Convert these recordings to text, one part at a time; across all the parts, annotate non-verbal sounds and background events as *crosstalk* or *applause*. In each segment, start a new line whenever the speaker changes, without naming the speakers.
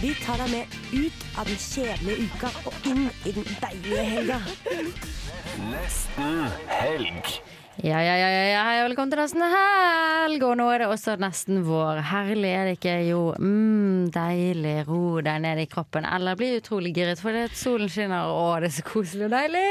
Vi tar deg med ut av den kjedelige uka og inn i den deilige helga.
Ja, ja, ja, ja, ja, hei og velkommen til nesten helg. Og nå er det også nesten vår. Herlig, er det ikke? Jo, mm, deilig. Ro deg ned i kroppen. Eller bli utrolig giret, for det at solen skinner, og det er så koselig og deilig.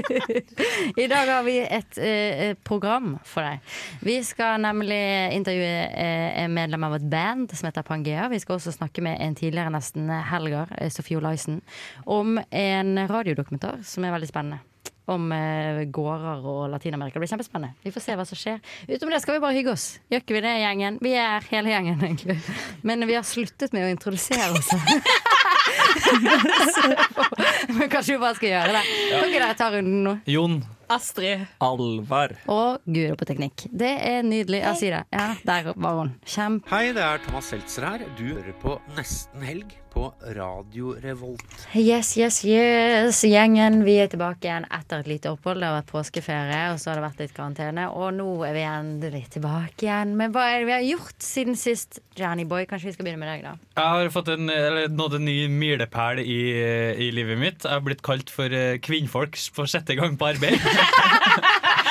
*laughs* I dag har vi et eh, program for deg. Vi skal nemlig intervjue eh, en medlem av et band som heter Pangea. Vi skal også snakke med en tidligere nesten helger, eh, Sofie Olaisen, om en radiodokumentar som er veldig spennende om eh, gårder og Latin-Amerika. Det blir kjempespennende. Vi får se hva som skjer. Utom det skal vi bare hygge oss. Gjør ikke vi det, gjengen? Vi er hele gjengen, egentlig. Men vi har sluttet med å introdusere oss. *laughs* Men kanskje vi bare skal gjøre det. Kan ikke dere ta runden nå?
Jon
Astrid.
Alvar.
Å, gud, og på teknikk. Det er nydelig. Jeg sier det. Ja, der var hun. Kjempe...
Hei, det er Thomas Seltzer her. Du hører på Nesten helg på Radio Revolt.
Yes, yes, yes. Gjengen, vi er tilbake igjen etter et lite opphold. Det har vært påskeferie, og så har det vært litt karantene. Og nå er vi endelig tilbake igjen. Men hva er det vi har gjort siden sist? Johnny Boy, kanskje vi skal begynne med deg, da?
Jeg har fått en, eller, nådd en ny milepæl i, i livet mitt. Jeg har blitt kalt for eh, kvinnfolk for sjette gang på
*laughs*
arbeid.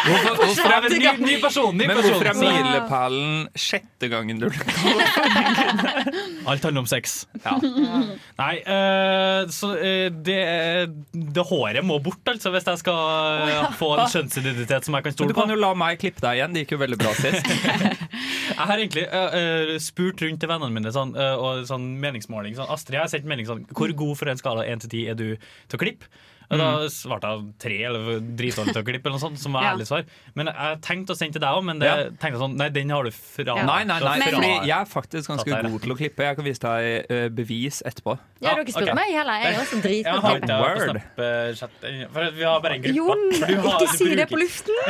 Hvorfor,
Så jeg er en ny, ny person, ny
men hvorfor er
person.
milepælen sjette gangen du
Alt handler om sex. Nei, eh, så eh, det, det håret må bort, altså, hvis jeg skal eh, få en kjønnsidentitet som jeg kan
Du
stole på.
kan jo la meg klippe deg igjen. Det gikk jo veldig bra sist.
Jeg har egentlig eh, eh, spurt rundt til vennene mine sånn, eh, og sånn meningsmåling. Sånn, Astrid, jeg har sendt melding sånn Hvor god for en skala 1 til 10 er du til å klippe? Og da
Mm.
svarte jeg tre eller dritdårlig til å klippe, eller noe sånt, som var
Ja.
ærlig svar. Men jeg tenkte å sende til deg òg, men det,
Ja.
tenkte jeg sånn Nei, den har du fra.
Nei, nei, nei,
fra-
fordi jeg er faktisk ganske
Satt der.
god til å klippe. Jeg kan vise deg eh, bevis etterpå.
Ja, du har ikke spurt
ok.
meg heller. Jeg er også
Jeg
dritgodt
har ikke jeg på
Word.
Snapchat ennå, For vi har bare en gruppe.
Jon,
Du har-
ikke
du
si det
bruker-
på luften!
*laughs*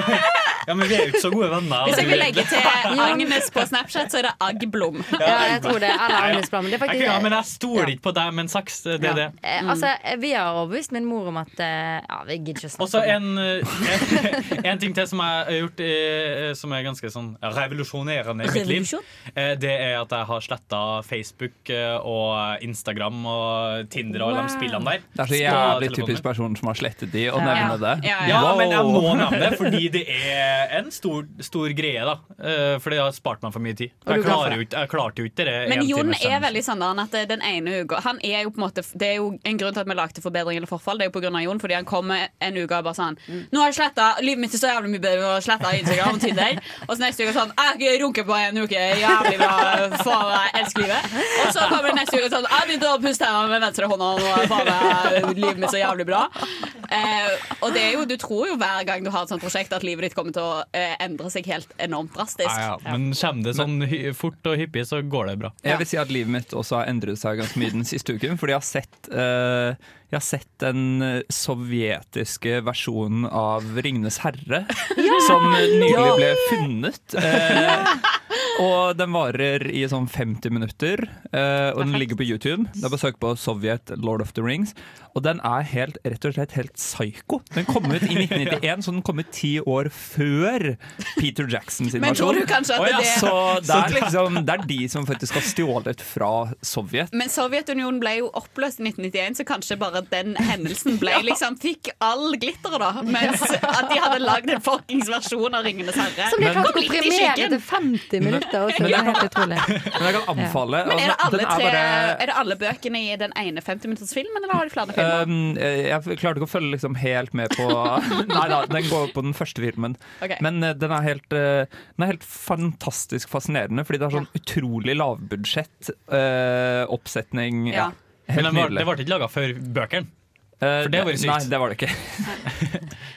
Ja, men vi er jo ikke så gode venner.
Hvis jeg
du-
kan legge til Agnes på Snapchat, så er det Agblom.
*laughs* Ja, jeg tror det. Eller Agnes Blom. Det er
Jeg
faktisk
kan- ja, men jeg stoler ikke på deg med en saks. Det er det.
Eh, Altså, vi har overbevist min mor om at eh, Ja, vi gidder ikke å
Og
snakke
så
om det.
en, eh, *laughs* en, en ting til som jeg har gjort eh, som er ganske sånn revolusjonerende i mitt liv.
Revolusjon?
Eh, Det er at jeg har sletta Facebook eh, og Instagram og Tinder og alle de spillene der.
Det er så jævlig typisk personen som har slettet de, å nevne det.
Ja,
Ja,
Wow.
men jeg må nevne det, fordi det er en stor, stor greie, da. Eh, For det har spart meg for mye tid.
Og du
Jeg,
er glad for
klarer jo ikke, jeg klarte jo ikke det.
Men
en
Jon
times
er
sendelse.
veldig sånn der, at den ene uka Han er jo på en måte Det er jo en grunn til at vi lagde forbedring eller forfall. Det er jo på grunn av Jon, fordi han kommer en uke og bare sånn 'Nå har jeg sletta Livet mitt er så jævlig mye bedre, og sletta Instagram og Tinder.' Og så neste uke sånn 'Jeg runker på en uke. Jævlig bra. Faen, jeg elsker livet.' Og så kommer det neste uke sånn 'Jeg begynte å puste her med venstre hånda, og faen, jeg- livet mitt er så jævlig bra'. Eh, og det er jo, du tror jo hver gang du har et sånt prosjekt, at livet ditt kommer til å eh, endre seg helt enormt drastisk.
Ja, ja. Men kommer det sånn hy fort og hyppig, så går det bra.
Jeg vil si at livet mitt også har endret seg ganske mye den siste uken. Fordi jeg har sett, eh, jeg har sett den eh, sovjetiske versjonen av 'Ringenes herre', som nylig ble funnet. eh, og den varer i sånn 50 minutter, eh, og den ligger på YouTube. Det er bare å søke på 'Sovjet Lord of the Rings'. Og den er helt, rett og slett helt psyko. Den kom ut i 1991, så den kom ut ti år før Peter Jackson sin
Men
versjon.
tror du kanskje at
Å ja,
det
Så det er liksom Det er de som faktisk har stjålet fra Sovjet.
Men Sovjetunionen ble jo oppløst i 1991, så kanskje bare den hendelsen *laughs* ble liksom Fikk all glitteret, da. Mens at de hadde lagd en fuckings versjon av 'Ringenes herre'.
Som de
Men-
klarte å
Kom litt i
komprimere
skyggen.
til 50 minutter også.
Men
Det
det
er helt
*laughs*
utrolig.
Men jeg kan anbefale
Men er det,
altså,
alle
den er
tre,
bare-
er det alle bøkene i den ene 50-minuttersfilmen, eller har de flere filmer?
Um, eh, jeg klarte ikke å følge liksom helt med på *laughs* Nei da, den går på den første filmen.
Ok.
Men eh, den er, helt, eh, den er helt fantastisk fascinerende, fordi det er sånn utrolig lavbudsjett eh, oppsetning.
Ja.
Ja.
Men
Helt
den var- det
nydelig.
ble ikke laga før bøkene.
Eh,
for det var jo sykt.
Nei, det var det ikke.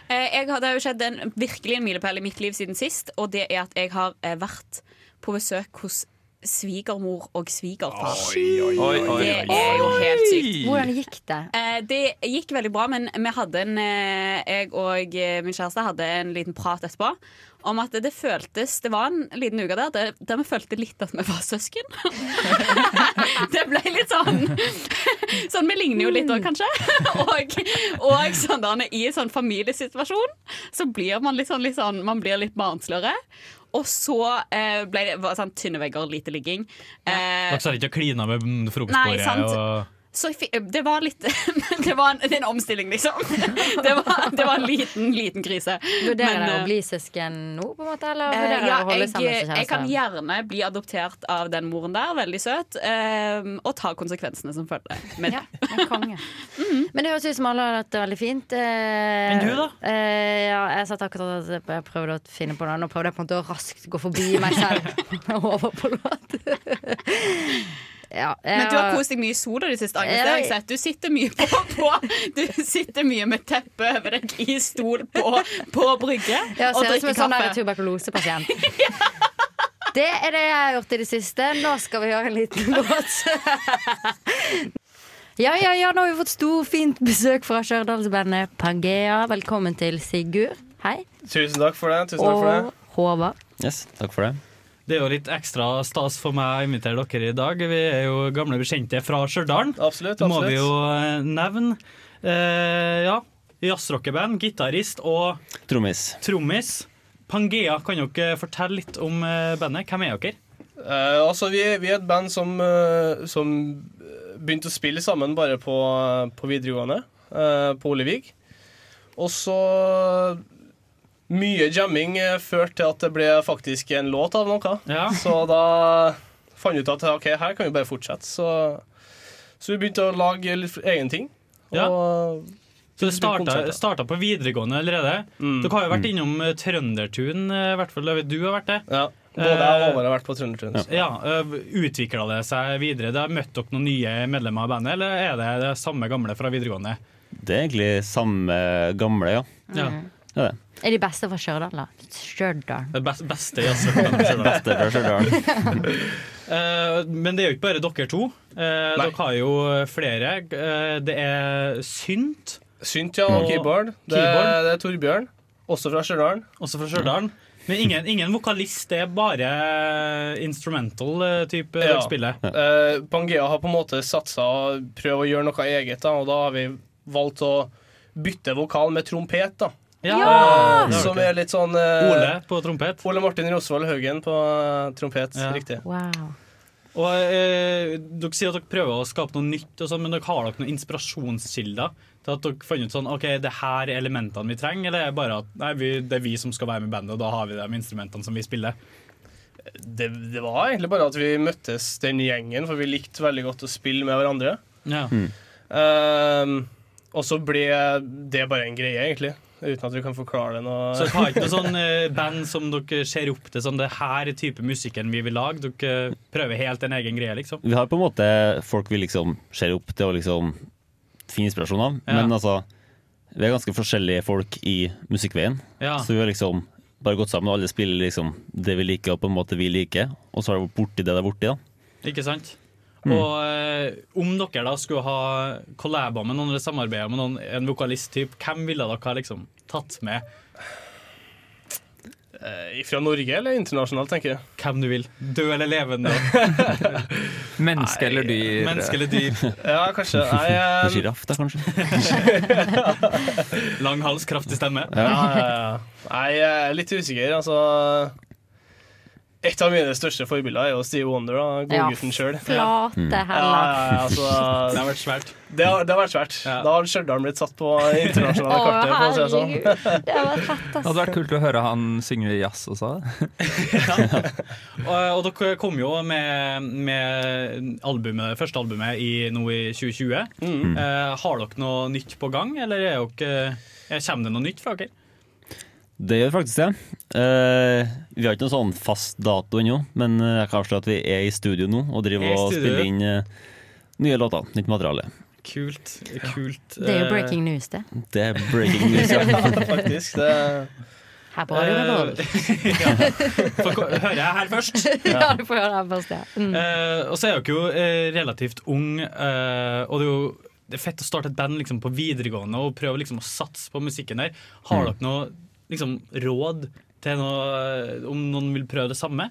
Eh, Jeg har, det har jo skjedd en, virkelig en milepæl i mitt liv siden sist, og det er at jeg har eh, vært på besøk hos svigermor og svigerfar.
Oi, oi,
Det
oi.
er jo helt sykt.
Hvordan gikk det?
Eh, Det gikk veldig bra, men vi hadde en, eh, jeg og eh, min kjæreste hadde en liten prat etterpå om at det føltes Det var en liten uke der der, der vi følte litt at vi var søsken. *laughs* det ble litt sånn *laughs* Sånn, Vi ligner jo litt òg, kanskje. *laughs* og og sånn, der, i en sånn familiesituasjon så blir man litt sånn, litt sånn Man blir litt barnsligere. Og så eh, ble det var sånn, tynne vegger, lite ligging. Eh,
Dere satt ikke og klina med mm,
Nei,
frokostbordet?
sant.
og-
så jeg fi- eh, det var litt *laughs* Det var en, det er en omstilling, liksom. *laughs* Det var, det var en liten, liten krise.
Vurderer
Men,
dere
eh,
å bli søsken nå, på en måte? Eller
eh,
vurderer
ja,
dere å holde
jeg,
sammen som
jeg kan
kjærester?
gjerne bli adoptert av den moren der, veldig søt, eh, og ta konsekvensene som følger med det.
Ja, men
*laughs*
konge. Mm. Men det høres ut som alle har hatt det veldig fint. eh,
Men du da?
ja, jeg satt akkurat og jeg prøvde å finne på noe. Nå prøvde jeg på en måte å raskt gå forbi meg
*laughs*
selv *laughs* og over på låt. *laughs* ja, eh, jeg
Men du har kost deg mye i sola de siste dagene. Det har jeg sett. Du sitter mye på, på Du sitter mye med teppe over deg i stol på, på brygge
Ja, ser ut som
og drikker
en sånn der
kaffe.
tuberkulosepasient. Det er det jeg har gjort i det siste. Nå skal vi høre en liten *laughs* låt. Ja, ja, ja, nå har vi fått stor, fint besøk fra Stjørdalsbandet Pangea. Velkommen til Sigurd. Hei.
Tusen takk for det. tusen takk for
Og
det.
Håvard.
Yes, takk for det.
Det er jo litt ekstra stas for meg å invitere dere i dag. Vi er jo gamle bekjente fra Stjørdal.
Absolutt.
Det må
absolutt.
vi jo eh, nevne. Eh, ja. Jazzrockeband, gitarist og
Trommis.
trommis. Pangea, kan dere fortelle litt om eh, bandet? Hvem er dere?
Eh, altså, vi, vi er et band som, eh, som eh, begynte å spille sammen bare på, på videregående, eh, på Olevik. Og så Mye jamming eh, førte til at det ble faktisk en låt av noe.
Ja.
Så da fant vi ut at OK, her kan vi bare fortsette. Så, så vi begynte å lage litt egen ting.
Ja.
Og
Så det
Konserter.
starta, starta på videregående allerede.
Mm.
Dere har jo vært innom eh, Trøndertun, eh, i hvert fall Løve, du har vært det.
ja, både jeg
Eh,
og Håvard har vært på Trøndertun.
Ja, Utvikla det seg videre? Da Møtte dere noen nye medlemmer av bandet, eller er det det samme gamle fra videregående?
Det er egentlig samme gamle, ja. Det
Ja.
er det.
Er de beste fra Stjørdal, da? Stjørdal.
Det best, beste
*laughs*
jazzbandet.
Beste fra Stjørdal.
*laughs* Eh, men det er jo ikke bare dere to. Eh,
Nei.
dere har jo flere. Eh, det er Synt,
Synt, ja, og
Mm.
keyboard. Det,
Keyboard.
det er Torbjørn, også fra Stjørdal.
også fra Stjørdal. Men ingen, ingen vokalist, det er bare instrumental eh, type
Ja.
dere spiller.
Eh, Pangea har på en måte satsa og prøvd å gjøre noe eget, da, og da har vi valgt å bytte vokal med trompet, da.
Ja!
Eh,
Det har
som
dere.
er litt sånn eh,
Ole på trompet.
Ole Martin Rosvold Haugen på eh, trompet,
Ja.
riktig.
Wow.
Og eh, Dere sier at dere prøver å skape noe nytt, og sånn, men dere har dere noen inspirasjonskilder til at dere fant ut sånn, ok, det her er elementene vi trenger, eller er det bare at nei, vi, det er vi som skal være med i bandet, og da har vi de instrumentene som vi spiller?
Det, det var egentlig bare at vi møttes den gjengen, for vi likte veldig godt å spille med hverandre.
Ja.
Mm.
Eh, og så ble det bare en greie, egentlig. Uten at vi kan forklare det noe.
Så dere har ikke noe sånn eh, band som dere ser opp til, sånn det her er type musikken vi vil lage? Dere eh, prøver helt en egen greie, liksom?
Vi har på en måte folk vi liksom ser opp til og liksom finner inspirasjon av,
Ja.
men altså Vi er ganske forskjellige folk i musikkveien,
Ja.
så vi har liksom bare gått sammen, og alle spiller liksom det vi liker, og på en måte vi liker, og så har det vært borti det det er borti, da.
Ikke sant?
Mm.
Og eh, om dere da skulle ha collaba med noen eller samarbeida med noen, en vokalisttype, hvem ville dere ha liksom tatt med?
Eh, fra Norge eller internasjonalt, tenker jeg.
Hvem du vil. Død eller levende.
*laughs* *laughs* Menneske eller dyr? eh.
Menneske eller dyr.
*laughs*
Ja, kanskje. Nei, eh,
Sjiraff, da, kanskje?
Lang hals, kraftig stemme.
Ja, ja, ja. Nei, jeg er litt usikker. Altså Et av mine største forbilder er jo Steve Wonder. da, Godgutten sjøl. Mm.
Flate heller.
Det
*laughs*
altså,
har vært svært.
det, har- det har vært svært.
Ja.
Da har Stjørdal blitt satt
*laughs*
på det internasjonale
Å,
kartet. For å si det sånn.
herregud. Det har vært fett,
Det hadde vært
ass.
kult å høre han synge jazz også.
Og, eh, og dere kom jo med, med albumet, første albumet i, nå i 2020.
Mm.
Eh, har dere noe nytt på gang, eller er dere, eh, kommer det noe nytt fra dere?
Det gjør faktisk det. Eh, vi har ikke noen sånn fast dato ennå, men eh, jeg kan avsløre at vi er i studio nå og
Er i
driver og
studio.
spiller inn eh, nye låter. Nytt materiale.
Kult. kult eh,
Det er jo breaking news, det.
*laughs*
Det er breaking news. ja.
Faktisk. Det,
Her på Radio
Eh, *laughs*
Revolt.
Får ko- Hører jeg her først?
*laughs* Ja, du får gjøre det her først, ja. Mm.
Eh, og så er dere jo eh, relativt ung, eh, og det er jo det er fett å starte et band liksom, på videregående og prøve liksom, å satse på musikken der. Har dere noe liksom, råd til noe, eh, om noen vil prøve det samme?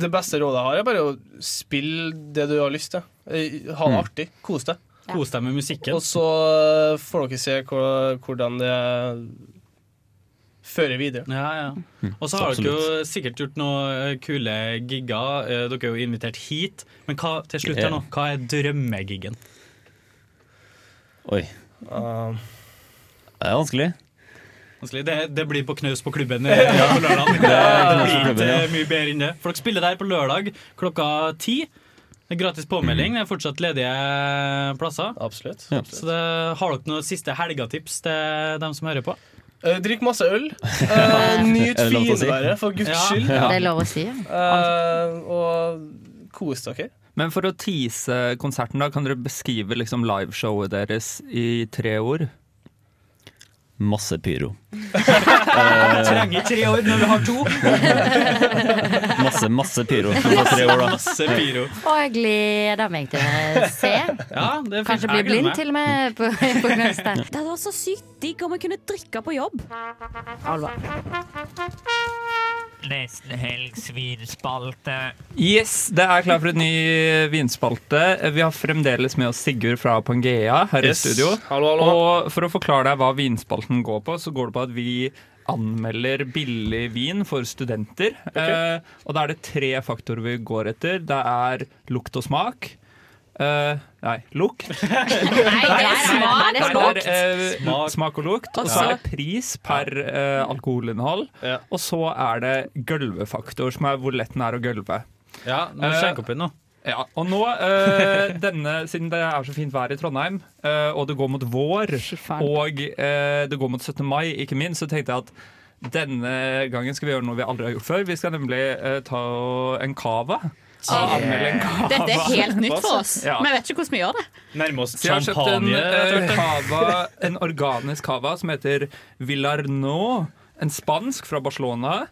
Det beste rådet jeg har, er bare å spille det du har lyst til. Eh, Ha det
Mm.
artig. Kos deg.
Kos deg med musikken.
Og så eh, får dere se hvor- hvordan det fører videre.
Ja, ja.
Mm.
Og så har dere jo sikkert gjort noen eh, kule gigger. Eh, Dere er jo invitert hit. Men hva, til slutt her nå, hva er drømmegiggen?
Oi. Det er vanskelig.
Vanskelig. Det, det blir på knaus på klubben eh,
Ja.
på lørdag.
Det er
Det
knaus på
blir
klubben,
ikke
ja.
mye bedre enn det. For dere spiller der på lørdag klokka ti. Det er gratis påmelding. Det er fortsatt ledige plasser.
Absolutt.
Ja.
Så det, har dere noen siste helgetips til dem som hører på?
Eh, Drikk masse øl. Eh, Nyt
Er det lov til å si?
finværet, for guds
Ja.
skyld. Eh,
Ja. Det er
lov å si.
og kos dere.
Men for å tease konserten, da, kan dere beskrive liksom liveshowet deres i tre ord?
Masse pyro.
Jeg trenger tre år når vi har to.
Masse, masse
*laughs*
pyro. Det var tre år, da.
Masse pyro.
Og jeg gleder meg til å se.
Ja, det er fint.
Kanskje bli
Jeg gleder
blind
meg.
til og med på, på kunsten.
Det hadde vært så sykt digg om vi kunne drikke på jobb.
Alva.
Nesten helgs vinspalte.
Yes, det er klar for et ny vinspalte. Vi har fremdeles med oss Sigurd fra Pangea her
Yes.
i studio.
Hallo, hallo.
Og for å forklare deg hva vinspalten går på, så går det på at vi anmelder billig vin for studenter. Eh, og da er det tre faktorer vi går etter. Det er lukt og smak. Eh, nei, lukt. nei,
det er smak. Altså-
det er, eh,
Smak.
smak og lukt. Og så
Også-
er det pris per eh, alkoholinnhold. Og så er det gølvefaktor, som er hvor lett den er å gølve.
Ja, nå
Eh,
skjenk opp igjen nå.
Ja, og nå,
*laughs*
eh, denne, siden det er så fint vær i Trondheim, eh, og det går mot vår, og eh, det går mot 17. mai, ikke minst, så tenkte jeg at denne gangen skal vi gjøre noe vi aldri har gjort før. Vi skal nemlig eh, ta en cava.
Ah.
Anmelde en cava.
Dette er helt nytt for oss.
Ja.
Vi vet ikke hvordan vi gjør det.
Nærme oss
Så jeg har kjøpt en,
champagne. rett og
eh,
slett.
cava, en organisk cava som heter Villarno. En spansk fra Barcelona.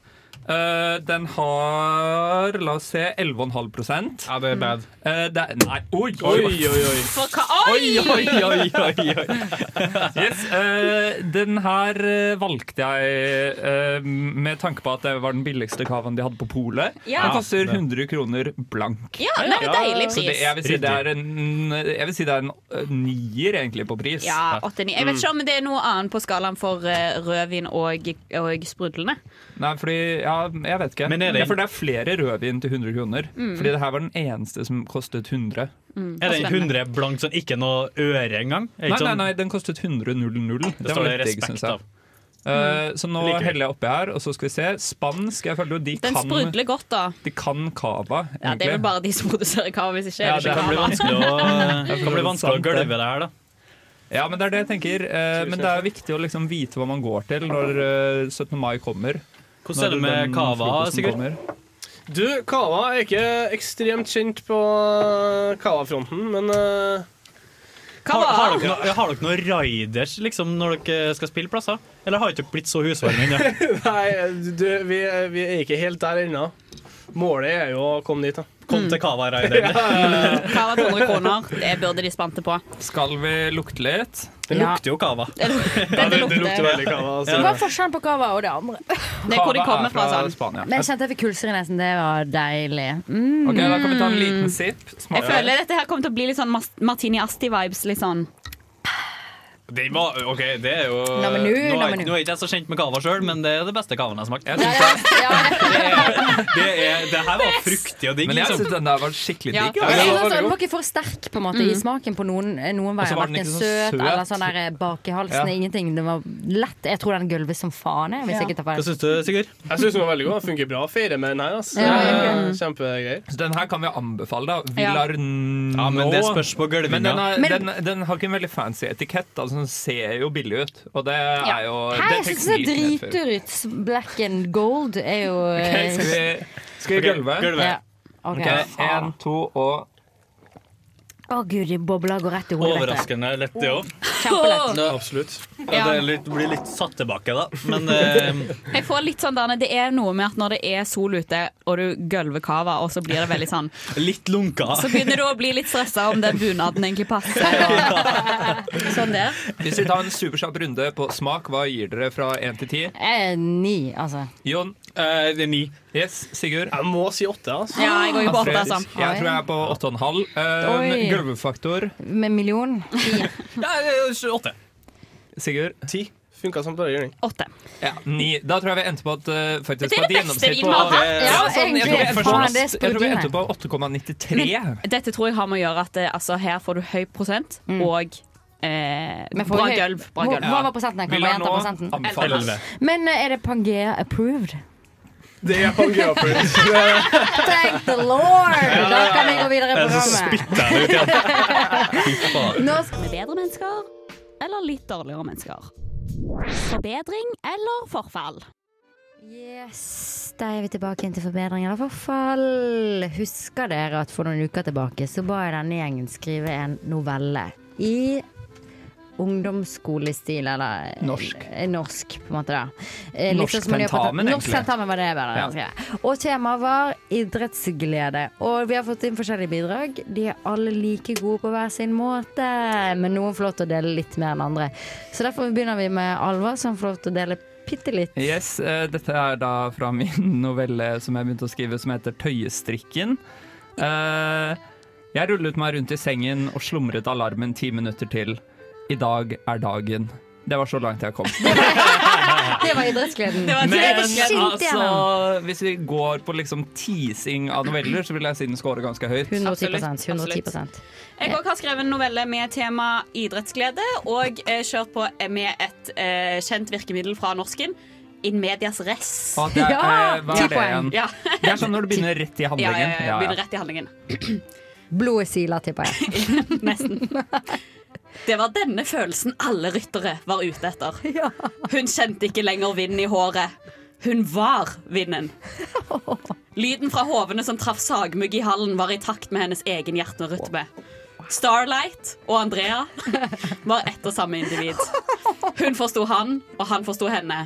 Eh, den har, la oss se, 11,5 Ja, det er bad. Eh, det er, nei, oi, oi, oi! oi.
For hva?
Oi, oi, oi, oi, oi. Yes, eh, den her eh, valgte jeg eh, med tanke på at det var den billigste kavaen de hadde på polet.
Ja.
Den koster 100 kroner blank.
Ja, nei, det er deilig
Så det,
pris.
jeg, vil si det er en, jeg vil si det er en eh, nier egentlig på pris.
Ja, 8-9. Jeg vet ikke om det er noe annet på skalaen for eh, rødvin og, og sprudlene.
Nei, fordi, ja, jeg vet ikke.
Men er det-
Ja, for det er flere rødvin til 100 kroner.
Mm.
Fordi det her var den eneste som kostet 100.
Mm,
Er den 100 blank sånn ikke noe øre engang? Er
Nei,
ikke
nei,
sånn-
nei, den kostet 100 0 0.
Det står det respekt av.
Mm.
Eh, så nå
Likevel.
heller jeg oppi her, og så skal vi se. Spansk, jeg føler jo de
Den
kan
sprudler godt, da.
De kan cava, egentlig.
Ja, det er vel bare de som produserer kava. Hvis ikke,
Ja,
er det,
det
ikke
kan
Det blir
kava.
vanskelig å, *laughs* det kan bli vanskelig å
Sant,
gulve
det.
det her, da.
Ja, men det er det jeg tenker. Eh, men det er viktig å liksom vite hva man går til når eh, 17. mai kommer.
Hvordan er det
Når
med
den
cava,
frokosten
Sigurd?
kommer.
Du, Kava er ikke ekstremt kjent på eh, Kava-fronten, men eh,
Har, har, dere noe, har dere noen riders liksom, når dere skal spille plasser? Eller har ikke dere blitt så husvarme ennå?
Nei, du, vi, vi er ikke helt der ennå. Målet er jo å komme dit, da.
Kom til Kava-rideren.
Kava 200 kroner, det burde de spante på.
Skal vi lukte litt?
Det Ja. lukter
jo cava.
Det,
lukter lukter
veldig altså. cava,
Så Hva er forskjellen på cava og det andre?
Det er hvor de kommer fra, sånn.
Spania.
Men jeg kjente jeg fikk kulser i nesen. Det var deilig. Mm.
Ok, Da kan vi ta en liten sipp.
Jeg
Smake.
føler dette her kommer til å bli litt sånn Mas- Martini Asti-vibes. Litt sånn.
*laughs* Det var, ok, det er jo
Nå, men nå,
nå, er,
nå,
jeg-
men nå.
nå er ikke jeg så kjent med cava sjøl, men det er det beste cavaen jeg har smakt. det, er, det, er, det her var fruktig og digg.
Men jeg
liksom.
synes den der var skikkelig
Ja.
digg. altså.
Jeg synes også Den var ikke for sterk på en måte i
Mm.
smaken på noen, noen
Og
veier.
så var den
Verken
ikke så
søt
søt.
eller sånn der eh, bak i halsen.
Ja.
Ingenting. Den var lett. Jeg tror den gulvet som faen er, hvis jeg ikke tar feil.
syns du, Sigurd?
Jeg syns den var veldig god. Den funker bra å feire med den her. Altså.
Ja,
Eh, Kjempegreier.
Så den her kan vi anbefale, da.
Ja.
Villarno.
Ja, men det spørs på gulvinga.
Men den, er,
Men-
den, den har ikke en veldig fancy etikett. Altså, den ser jo billig ut, og det er jo
Hei, jeg
det
syns det ser
teknikken
driter ut. Black and gold er jo eh,
Ok, skal vi- skal vi gulve?
Ja. Ok.
Ok, en, to og
Å gud, de bobla går rett i hodet.
Overraskende lett, det òg.
Kjempelett.
Absolutt.
Ja.
Det er litt, blir litt satt tilbake, da. Men eh,
Jeg får litt sånn der, Det er noe med at når det er sol ute, og du gølver kava, og så blir det veldig sånn
*laughs* litt lunka.
Så begynner du å bli litt stressa om den bunaden egentlig passer. Sånn det.
Hvis vi tar en superkjapp runde på smak, hva gir dere fra én til ti?
Eh, ni, altså.
Jon?
Eh, det er ni.
Yes, Sigurd?
Jeg må si åtte, altså.
Ja, jeg går jo på åtte,
Astrid?
altså.
Jeg tror jeg er på åtte og en halv.
Oi.
Eh, Gulvefaktor?
Med million.
Åtte.
Sigurd?
Ti. Funka som bare juling.
Åtte.
Ja, ni. Da tror jeg vi endte på at eh, faktisk
Det er
på et
det beste
gjennomsnitt
vi
på
må ha. Ja,
sånn, jeg, tror vi
egentlig.
endte
Faen,
på,
det
jeg tror vi endte
sprudler.
på 8,93.
Men dette tror jeg har med å gjøre at eh, altså, her får du høy prosent og eh,
Mm. Men får
bra
høy-
gulv. Bra
Hvor-
gulv.
hva var prosenten her? Kan
Vil
man
han
gjenta
nå
prosenten?
anbefale
Elleve. Men eh, er det Pangea approved?
Det er Pangea Prince.
*laughs* Thank the lord! Da kan vi gå videre i programmet. *laughs*
Nå skal vi bedre mennesker eller litt dårligere mennesker. Forbedring eller forfall?
Yes, Da er vi tilbake igjen til forbedring eller forfall. Husker dere at for noen uker tilbake så ba jeg denne gjengen skrive en novelle i ungdomsskolestil, eller
Norsk.
Eh, Norsk, på en måte. da. Eh,
Norsk
litt sånn som man gjør på ta-
tentamen,
Norsk
egentlig.
tentamen var det jeg bare
Ja.
skrev. Og temaet var idrettsglede. Og vi har fått inn forskjellige bidrag. De er alle like gode på hver sin måte, men noen får lov til å dele litt mer enn andre. Så derfor begynner vi med Alva, som får lov til å dele bitte litt.
Yes, eh, dette er da fra min *laughs* novelle som jeg begynte å skrive, som heter Tøyestrikken. Eh, jeg rullet meg rundt i sengen og slumret alarmen ti minutter til. I dag er dagen. Det var så langt jeg
*laughs*
kom.
Det var idrettsgleden.
Men altså, hvis vi går på liksom teasing av noveller, så vil jeg si den scorer ganske høyt.
110
Absolutt,
110
Jeg også har skrevet en novelle med tema idrettsglede og eh, kjørt på med et eh, kjent virkemiddel fra norsken. In medias res.
Å, det er- Ja! eh, hva er
Ti
det
poeng.
igjen?
Ja.
Det er sånn når du begynner rett i handlingen.
*laughs* Ja, ja,
Ja,
ja.
ja.
Begynner rett i handlingen.
Blodet siler, tipper jeg. *laughs*
Det var denne følelsen alle ryttere var ute etter. Hun kjente ikke lenger vinden i håret. Hun var vinden. Lyden fra hovene som traff sagmugg i hallen, var i takt med hennes egen hjerterytme. Starlight og Andrea var ett og samme individ. Hun forsto han, og han forsto henne.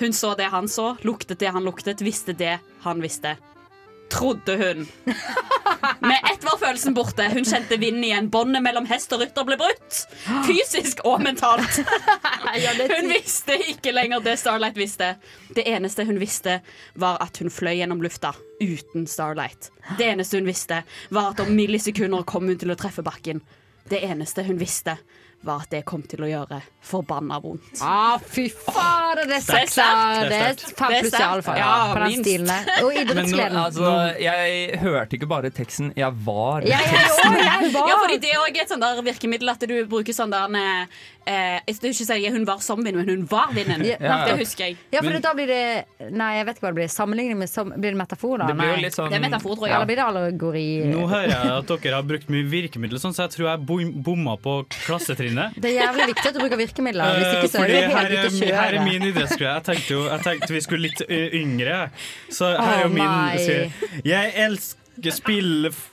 Hun så det han så, luktet det han luktet, visste det han visste. Trodde hun. Med ett var følelsen borte. Hun kjente vinden igjen. Båndet mellom hest og rytter ble brutt. Fysisk og mentalt. Hun visste ikke lenger det Starlight visste. Det eneste hun visste, var at hun fløy gjennom lufta uten Starlight. Det eneste hun visste, var at om millisekunder kom hun til å treffe bakken. Det eneste hun visste, var at det kom til å gjøre forbanna vondt.
Ah, fy fader, det er sekser! Det er fem pluss i alle fall.
Ja,
på den
minst.
stilen der. Og
Men nå,
idrettsgleden.
altså, jeg hørte ikke bare teksten, jeg var
Ja,
teksten.
Ja, fordi det er også et sånt der virkemiddel at du bruker sånn der eh, eh, Jeg skal ikke si hun var som vinden, men hun var vinden.
Ja, ja.
Det husker jeg.
Ja, for da blir det Nei, jeg vet ikke hva det blir. Sammenligning med som, Blir det metafor, da?
Det blir jo
Nei.
litt sånn- Det er metafor, tror jeg.
Eller blir det allegori?
Nå hører jeg *laughs* at dere har brukt mye virkemidler, sånn, så jeg tror jeg bom bomma på klassetrinnet.
Det er jævlig viktig at du bruker virkemidler. Hvis
*laughs* Eh,
ikke så er
Fordi
det
her
helt
er,
ute å
mi- her er min idrettsgreie. Jeg tenkte jo jeg tenkte vi skulle litt ø, yngre. Så her er
Å,
jo min
nei.
serie. Jeg elsker spille f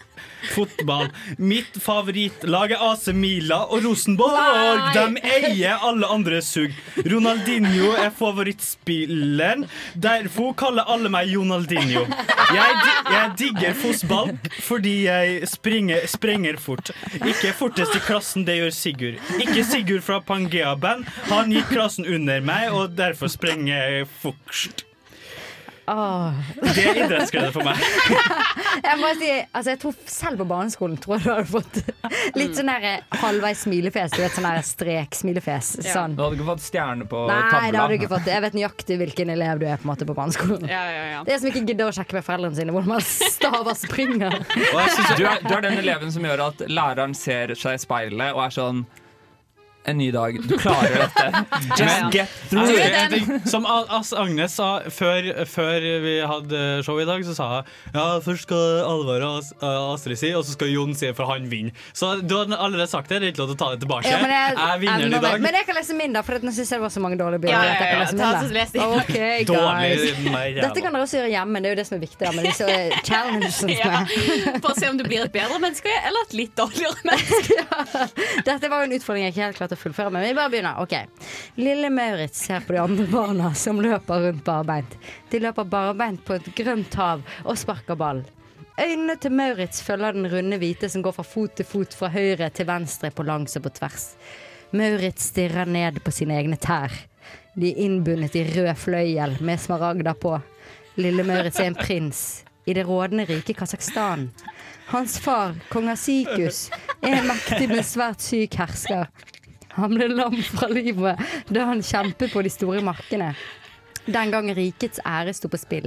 fotball. Mitt favorittlag er AC Mila og Rosenborg.
Nei.
De eier alle andre sug. Ronaldinho er favorittspilleren. Derfor kaller alle meg Jonaldinho. Jeg, di jeg digger fotball fordi jeg springer, sprenger fort. Ikke fortest i klassen, det gjør Sigurd. Ikke Sigurd fra Pangea Band. Han gikk klassen under meg, og derfor sprenger jeg fort.
Åh.
Det er idrettsglede for meg.
Jeg må si, altså jeg tror selv på barneskolen tror jeg du hadde fått *laughs* litt sånn der halvveis smilefjes. Du vet sånn der strek-smilefjes. Sånn.
Du hadde ikke fått stjerne på
Nei,
tavla.
det hadde du ikke fått. Jeg vet nøyaktig hvilken elev du er på, en måte, på barneskolen. Det er som ikke gidder å sjekke med foreldrene sine hvordan man staver
*laughs*
springer.
Og jeg synes, du, er, du er den eleven som gjør at læreren ser seg i speilet og er sånn En ny dag. Du klarer
*laughs*
dette. Just get through
Jeg
it.
husker en ting Som A- As Agnes sa før, før vi hadde show i dag, så sa hun ja, først skal Alvar og As- eh, Astrid si, og så skal Jon si, for han vinner. Så du har allerede sagt det. Det er ikke lov til å ta det tilbake.
Ja, men
jeg, er vinneren
ender
i dag.
med- Men jeg kan lese min, da, for at nå syns jeg det var så mange dårlige bilder.
Ja, ja,
at jeg kan
ja,
lese
ta
min, da.
så les de.
Ok,
Dårlig,
guys.
meg jævla.
Dette kan dere også gjøre hjemme, det er jo det som er viktig. da, Med disse eh, challengesene.
*laughs* Ja, for å se om du blir et bedre menneske eller et litt dårligere menneske.
Dette var jo en utfordring jeg ikke helt klarte å å fullføre, men vi bare begynner. Ok. Lille Maurits ser på de andre barna som løper rundt barbeint. De løper barbeint på et grønt hav og sparker ball. Øynene til Maurits følger den runde hvite som går fra fot til fot, fra høyre til venstre, på langs og på tvers. Maurits stirrer ned på sine egne tær. De er innbundet i rød fløyel med smaragder på. Lille Maurits er en prins i det rådende rike Kasakhstan. Hans far, kong Asikus, er en mektig, men svært syk hersker. Han ble lam fra livet da han kjempet på de store markene. Den gang rikets ære sto på spill.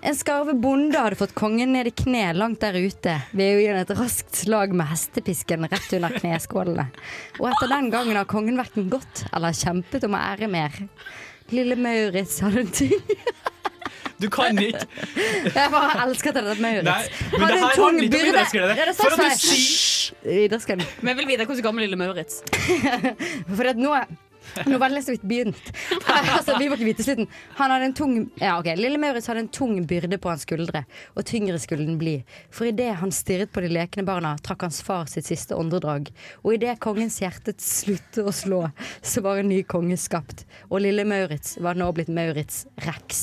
En skarve bonde hadde fått kongen ned i kne langt der ute ved å gi ham et raskt slag med hestepisken rett under kneskålene. Og etter den gangen har kongen verken gått eller kjempet om å ære mer. Lille Maurits hadde en ting
Du kan ikke
Jeg bare elsker at det er Maurits.
Nei, men
Hadde
det
en
her
tung
handler ikke om
byrde.
idrettsglede.
Ja, det
For
står
at du
sånn her. Hysj! Idrettsglede.
Vi vil vite hvordan det går med lille Maurits.
For at nå nå var det så vidt begynt. altså, vi må ikke vite slutten. Han hadde en tung ja, ok. Lille Maurits hadde en tung byrde på hans skuldre, og tyngre skulle den bli. For idet han stirret på de lekne barna, trakk hans far sitt siste åndedrag. Og idet kongens hjerte sluttet å slå, så var en ny konge skapt. Og lille Maurits var nå blitt Maurits Rex.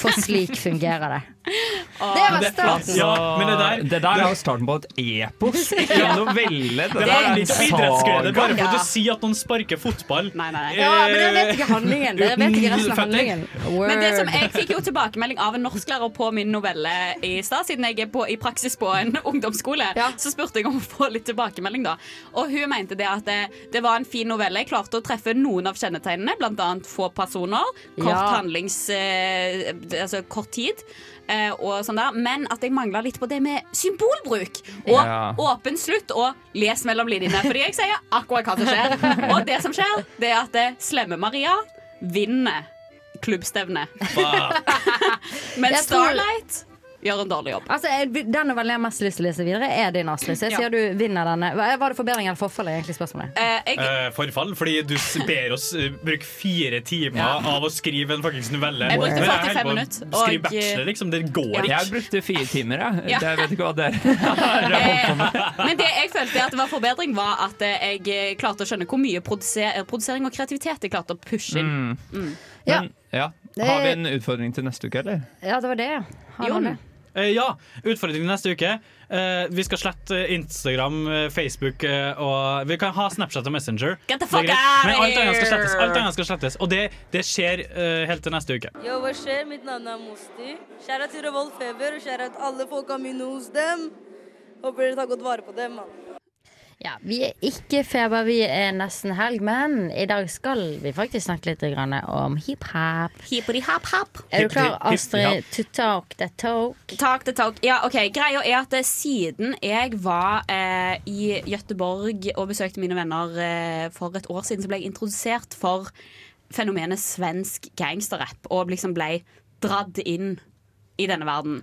For slik fungerer det. Det var starten.
Altså,
men det der-
det der er jo starten på et epos. Ikke
Ja.
en novelle.
Det der er litt som idrettsglede, bare for
Ja.
at du sier at noen sparker fotball.
Ja, men dere vet ikke handlingen. Dere vet ikke resten av
Uten føtter.
handlingen.
Men det som
Word.
jeg fikk jo tilbakemelding av en norsklærer på min novelle i stad, siden jeg er på, i praksis på en *laughs* ungdomsskole, så spurte jeg om å få litt tilbakemelding, da. Og hun mente det at det, det var en fin novelle. Jeg klarte å treffe noen av kjennetegnene, bl.a. få personer, kort
Ja.
handlings... Eh, altså kort tid. eh, Og sånn der. Men at jeg mangla litt på det med symbolbruk og
Ja.
åpen slutt og les mellom linjene. Fordi jeg sier akkurat hva som skjer. Og det som skjer, det er at eh, slemme Maria vinner klubbstevne. *laughs* Men
Jeg tror-
Starlight gjør en dårlig jobb.
Altså, jeg, Den novellen jeg har mest lyst til å lese videre, er din, Astrid. Så jeg
Ja.
sier du vinner denne. Hva- Var det forbedring eller forfall? er egentlig spørsmålet?
Eh, forfall, fordi du s- ber oss eh, bruke fire timer
Ja.
av å skrive en fuckings novelle.
Jeg brukte
Men holder
45
på å
minutter,
Skrive
og-
bachelor, liksom. Det går ikke.
Jeg brukte fire timer, jeg.
Ja.
Jeg vet ikke hva Eh, det er.
eh, Men det jeg følte at det var forbedring, var at eh, jeg klarte å skjønne hvor mye produse- eh, produsering og kreativitet jeg klarte å pushe inn.
Mm.
Mm.
Men, ja. Har vi en utfordring til neste uke, eller?
Ja, det var det. Har
Jon.
noen det?
Eh, ja, utfordringen neste uke. Eh, vi skal slette Instagram, eh, Facebook eh, og Vi kan ha Snapchat og Messenger.
Get the
Det er
fuck
greit.
out
Men
of
alt annet skal
here!
slettes. Alt annet skal slettes. Og det, det skjer eh, helt til neste uke.
Yo, hva skjer? Mitt navn er Mosti. Kjære til Revolt Feber, og kjære til alle folka mine hos dem. Håper dere tar godt vare på dem, mann.
Ja, vi er ikke feber, vi er nesten helg, men i dag skal vi faktisk snakke litt grann om hiphop.
Hippity-hap-hap.
Er du klar, Astrid? To talk the talk.
Talk the talk. Ja, ok, Greia er at eh, siden jeg var eh, i Gøteborg og besøkte mine venner eh, for et år siden, så ble jeg introdusert for fenomenet svensk gangsterrapp, og liksom ble dratt inn i denne verden.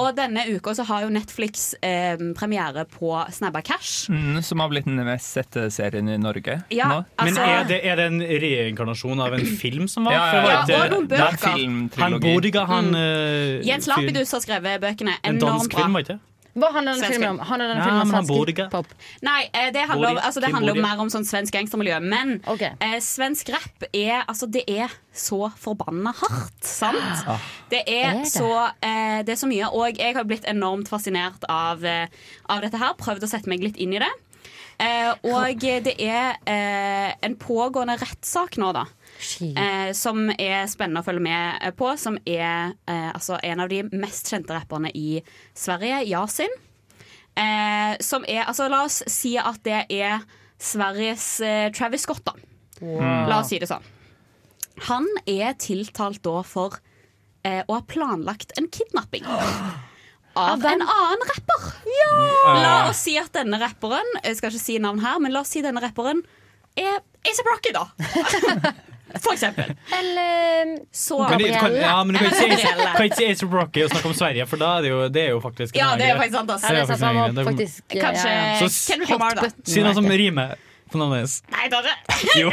Og denne uka så har jo Netflix eh, premiere på Snabba Cash.
Mm, som har blitt den mest sette serien i Norge
Ja,
nå.
altså-
Men er det, er det en reinkarnasjon av en film som var?
Ja, ja,
For var
ja.
ikke-
Ja, og noen Det er en bøker. filmtrilogi.
Han Bodiga, han
Mm.
eh,
Jens
fyren-
Lapidus har skrevet bøkene.
En
Enormt
dansk
bra.
film, var ikke det?
Hva handler denne
Svensk
filmen om?
film.
Handler denne
Nei,
filmen om
men han
svensk
bor ikke.
hiphop?
Nei, eh, det handler, om,
Bodia.
altså, det
Kim
handler om
Bodia.
mer om sånn svensk gangstermiljø. Men eh, svensk rapp er Altså, det er så forbanna hardt, sant?
Ah.
Det
Er
er
det?
så eh, Det er så mye. Og jeg har blitt enormt fascinert av, eh, av dette her. Prøvd å sette meg litt inn i det. Eh, og det er eh, en pågående rettssak nå, da. Eh, som er spennende å følge med eh, på. Som er eh, altså en av de mest kjente rapperne i Sverige, Yasin. Eh, som er Altså, la oss si at det er Sveriges eh, Travis Scott, da.
Wow.
La oss si det sånn. Han er tiltalt da for eh, å ha planlagt en kidnapping. Av en annen rapper. La oss si at denne rapperen Jeg skal ikke si navn her, men la oss si denne rapperen er A$AP Rocky, da. For eksempel.
Eller
så
Men det- du kan, ja, men du kan ikke si
Gabrielle.
kan ikke si Ace of Rocky og snakke om Sverige, for da er det jo, det er jo faktisk en
Ja, det er
greie.
faktisk sant, ass.
Det er
Ja, det er
faktisk
sant,
en
man
greie.
må
Det
faktisk- Kanskje
eh,
er- Så
Kendrick Lamar, da.
Si noe som rimer på navnet hennes.
Nei, dere!
Jo.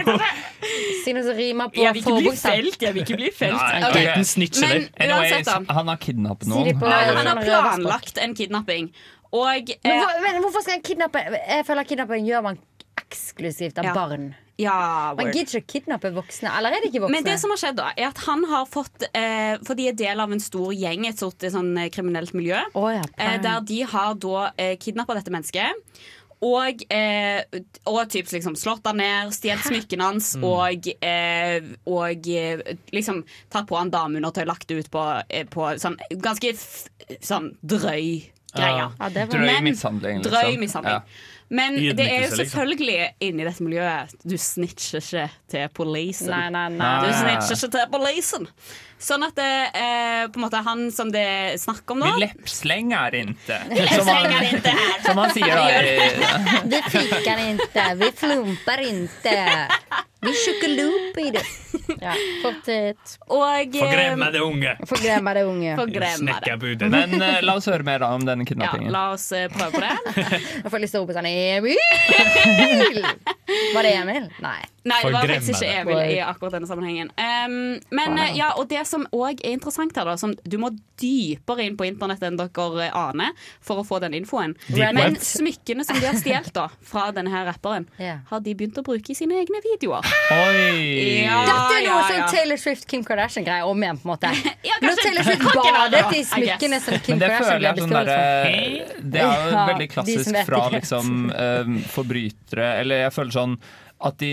Si noe som rimer på
Jeg vil ikke bli
forbokstav.
felt, jeg vil ikke bli felt.
Nei,
Ok.
det er en snitch,
Men
eller?
uansett, da.
han har kidnappet
Si
noen.
det på-
Nei,
Eller-
han har planlagt en kidnapping. Og
Men,
eh,
hvor, men hvorfor skal en kidnappe Jeg føler kidnapping gjør man eksklusivt av
Ja.
barn.
Ja,
Man
word.
gidder ikke å kidnappe voksne. Eller er det ikke voksne?
Men det som har skjedd da, er at han har fått eh, For de er del av en stor gjeng, et sort eh, sånn, eh, kriminelt miljø. eh, der de har da eh, kidnappa dette mennesket. Og, eh, og typ, liksom, slått han ned, stjålet smykkene hans
Mm.
og, eh, og eh, liksom tatt på han dameundertøy, lagt det ut på, eh, på sånn ganske f sånn drøy greie.
Ja, det var- Drøy
Men-
mishandling, liksom.
Drøy mishandling.
Ja.
Men det er
Ydmykelse,
jo
liksom.
selvfølgelig inni dette miljøet du snitcher ikke til policen.
Nei, nei, nei.
Du snitcher ikke til policen. Sånn at det, eh, på en måte han som det er snakk om nå
Vi leppslenger inte.
*laughs* Som han- Leppslenger inte här.
Som han sier da. eh, i-
Vi fikar inte, vi flumpar inte. Vi chokolooper i det. Ja, fortsätt.
Og eh,
Forgremmede unge.
Forgremmade unge.
Sånn
Snekkerbudet. Men eh, la oss høre mer da om denne kidnappingen.
la oss eh, prøve på det. *laughs*
Jag får lyssna på sånn Emil! Var det Emil? Nei.
Nei, det var faktisk ikke
Forgremmede.
Emil i akkurat denne sammenhengen. Ehm, men
Wow.
eh, ja, og det som òg er interessant her, da, som du må dypere inn på internett enn dere eh, aner for å få den infoen.
Deep web.
Men smykkene som de har stjålet da, fra denne her rapperen, har de begynt å bruke i sine egne videoer.
Oi!
Ja,
Dette er noe
ja,
sånn
ja.
Taylor Swift Kim Kardashian-greie om igjen, på en måte. Når
kanskje-
Taylor Swift
kan ikke være det,
badet i
I guess.
smykkene som Kim
Men det
Kardashian
føler
ble
jeg sånn
beskåret
derre
for.
Det er jo
Ja,
veldig
de som
klassisk
vet
fra
ikke.
liksom eh, forbrytere Eller jeg føler sånn at de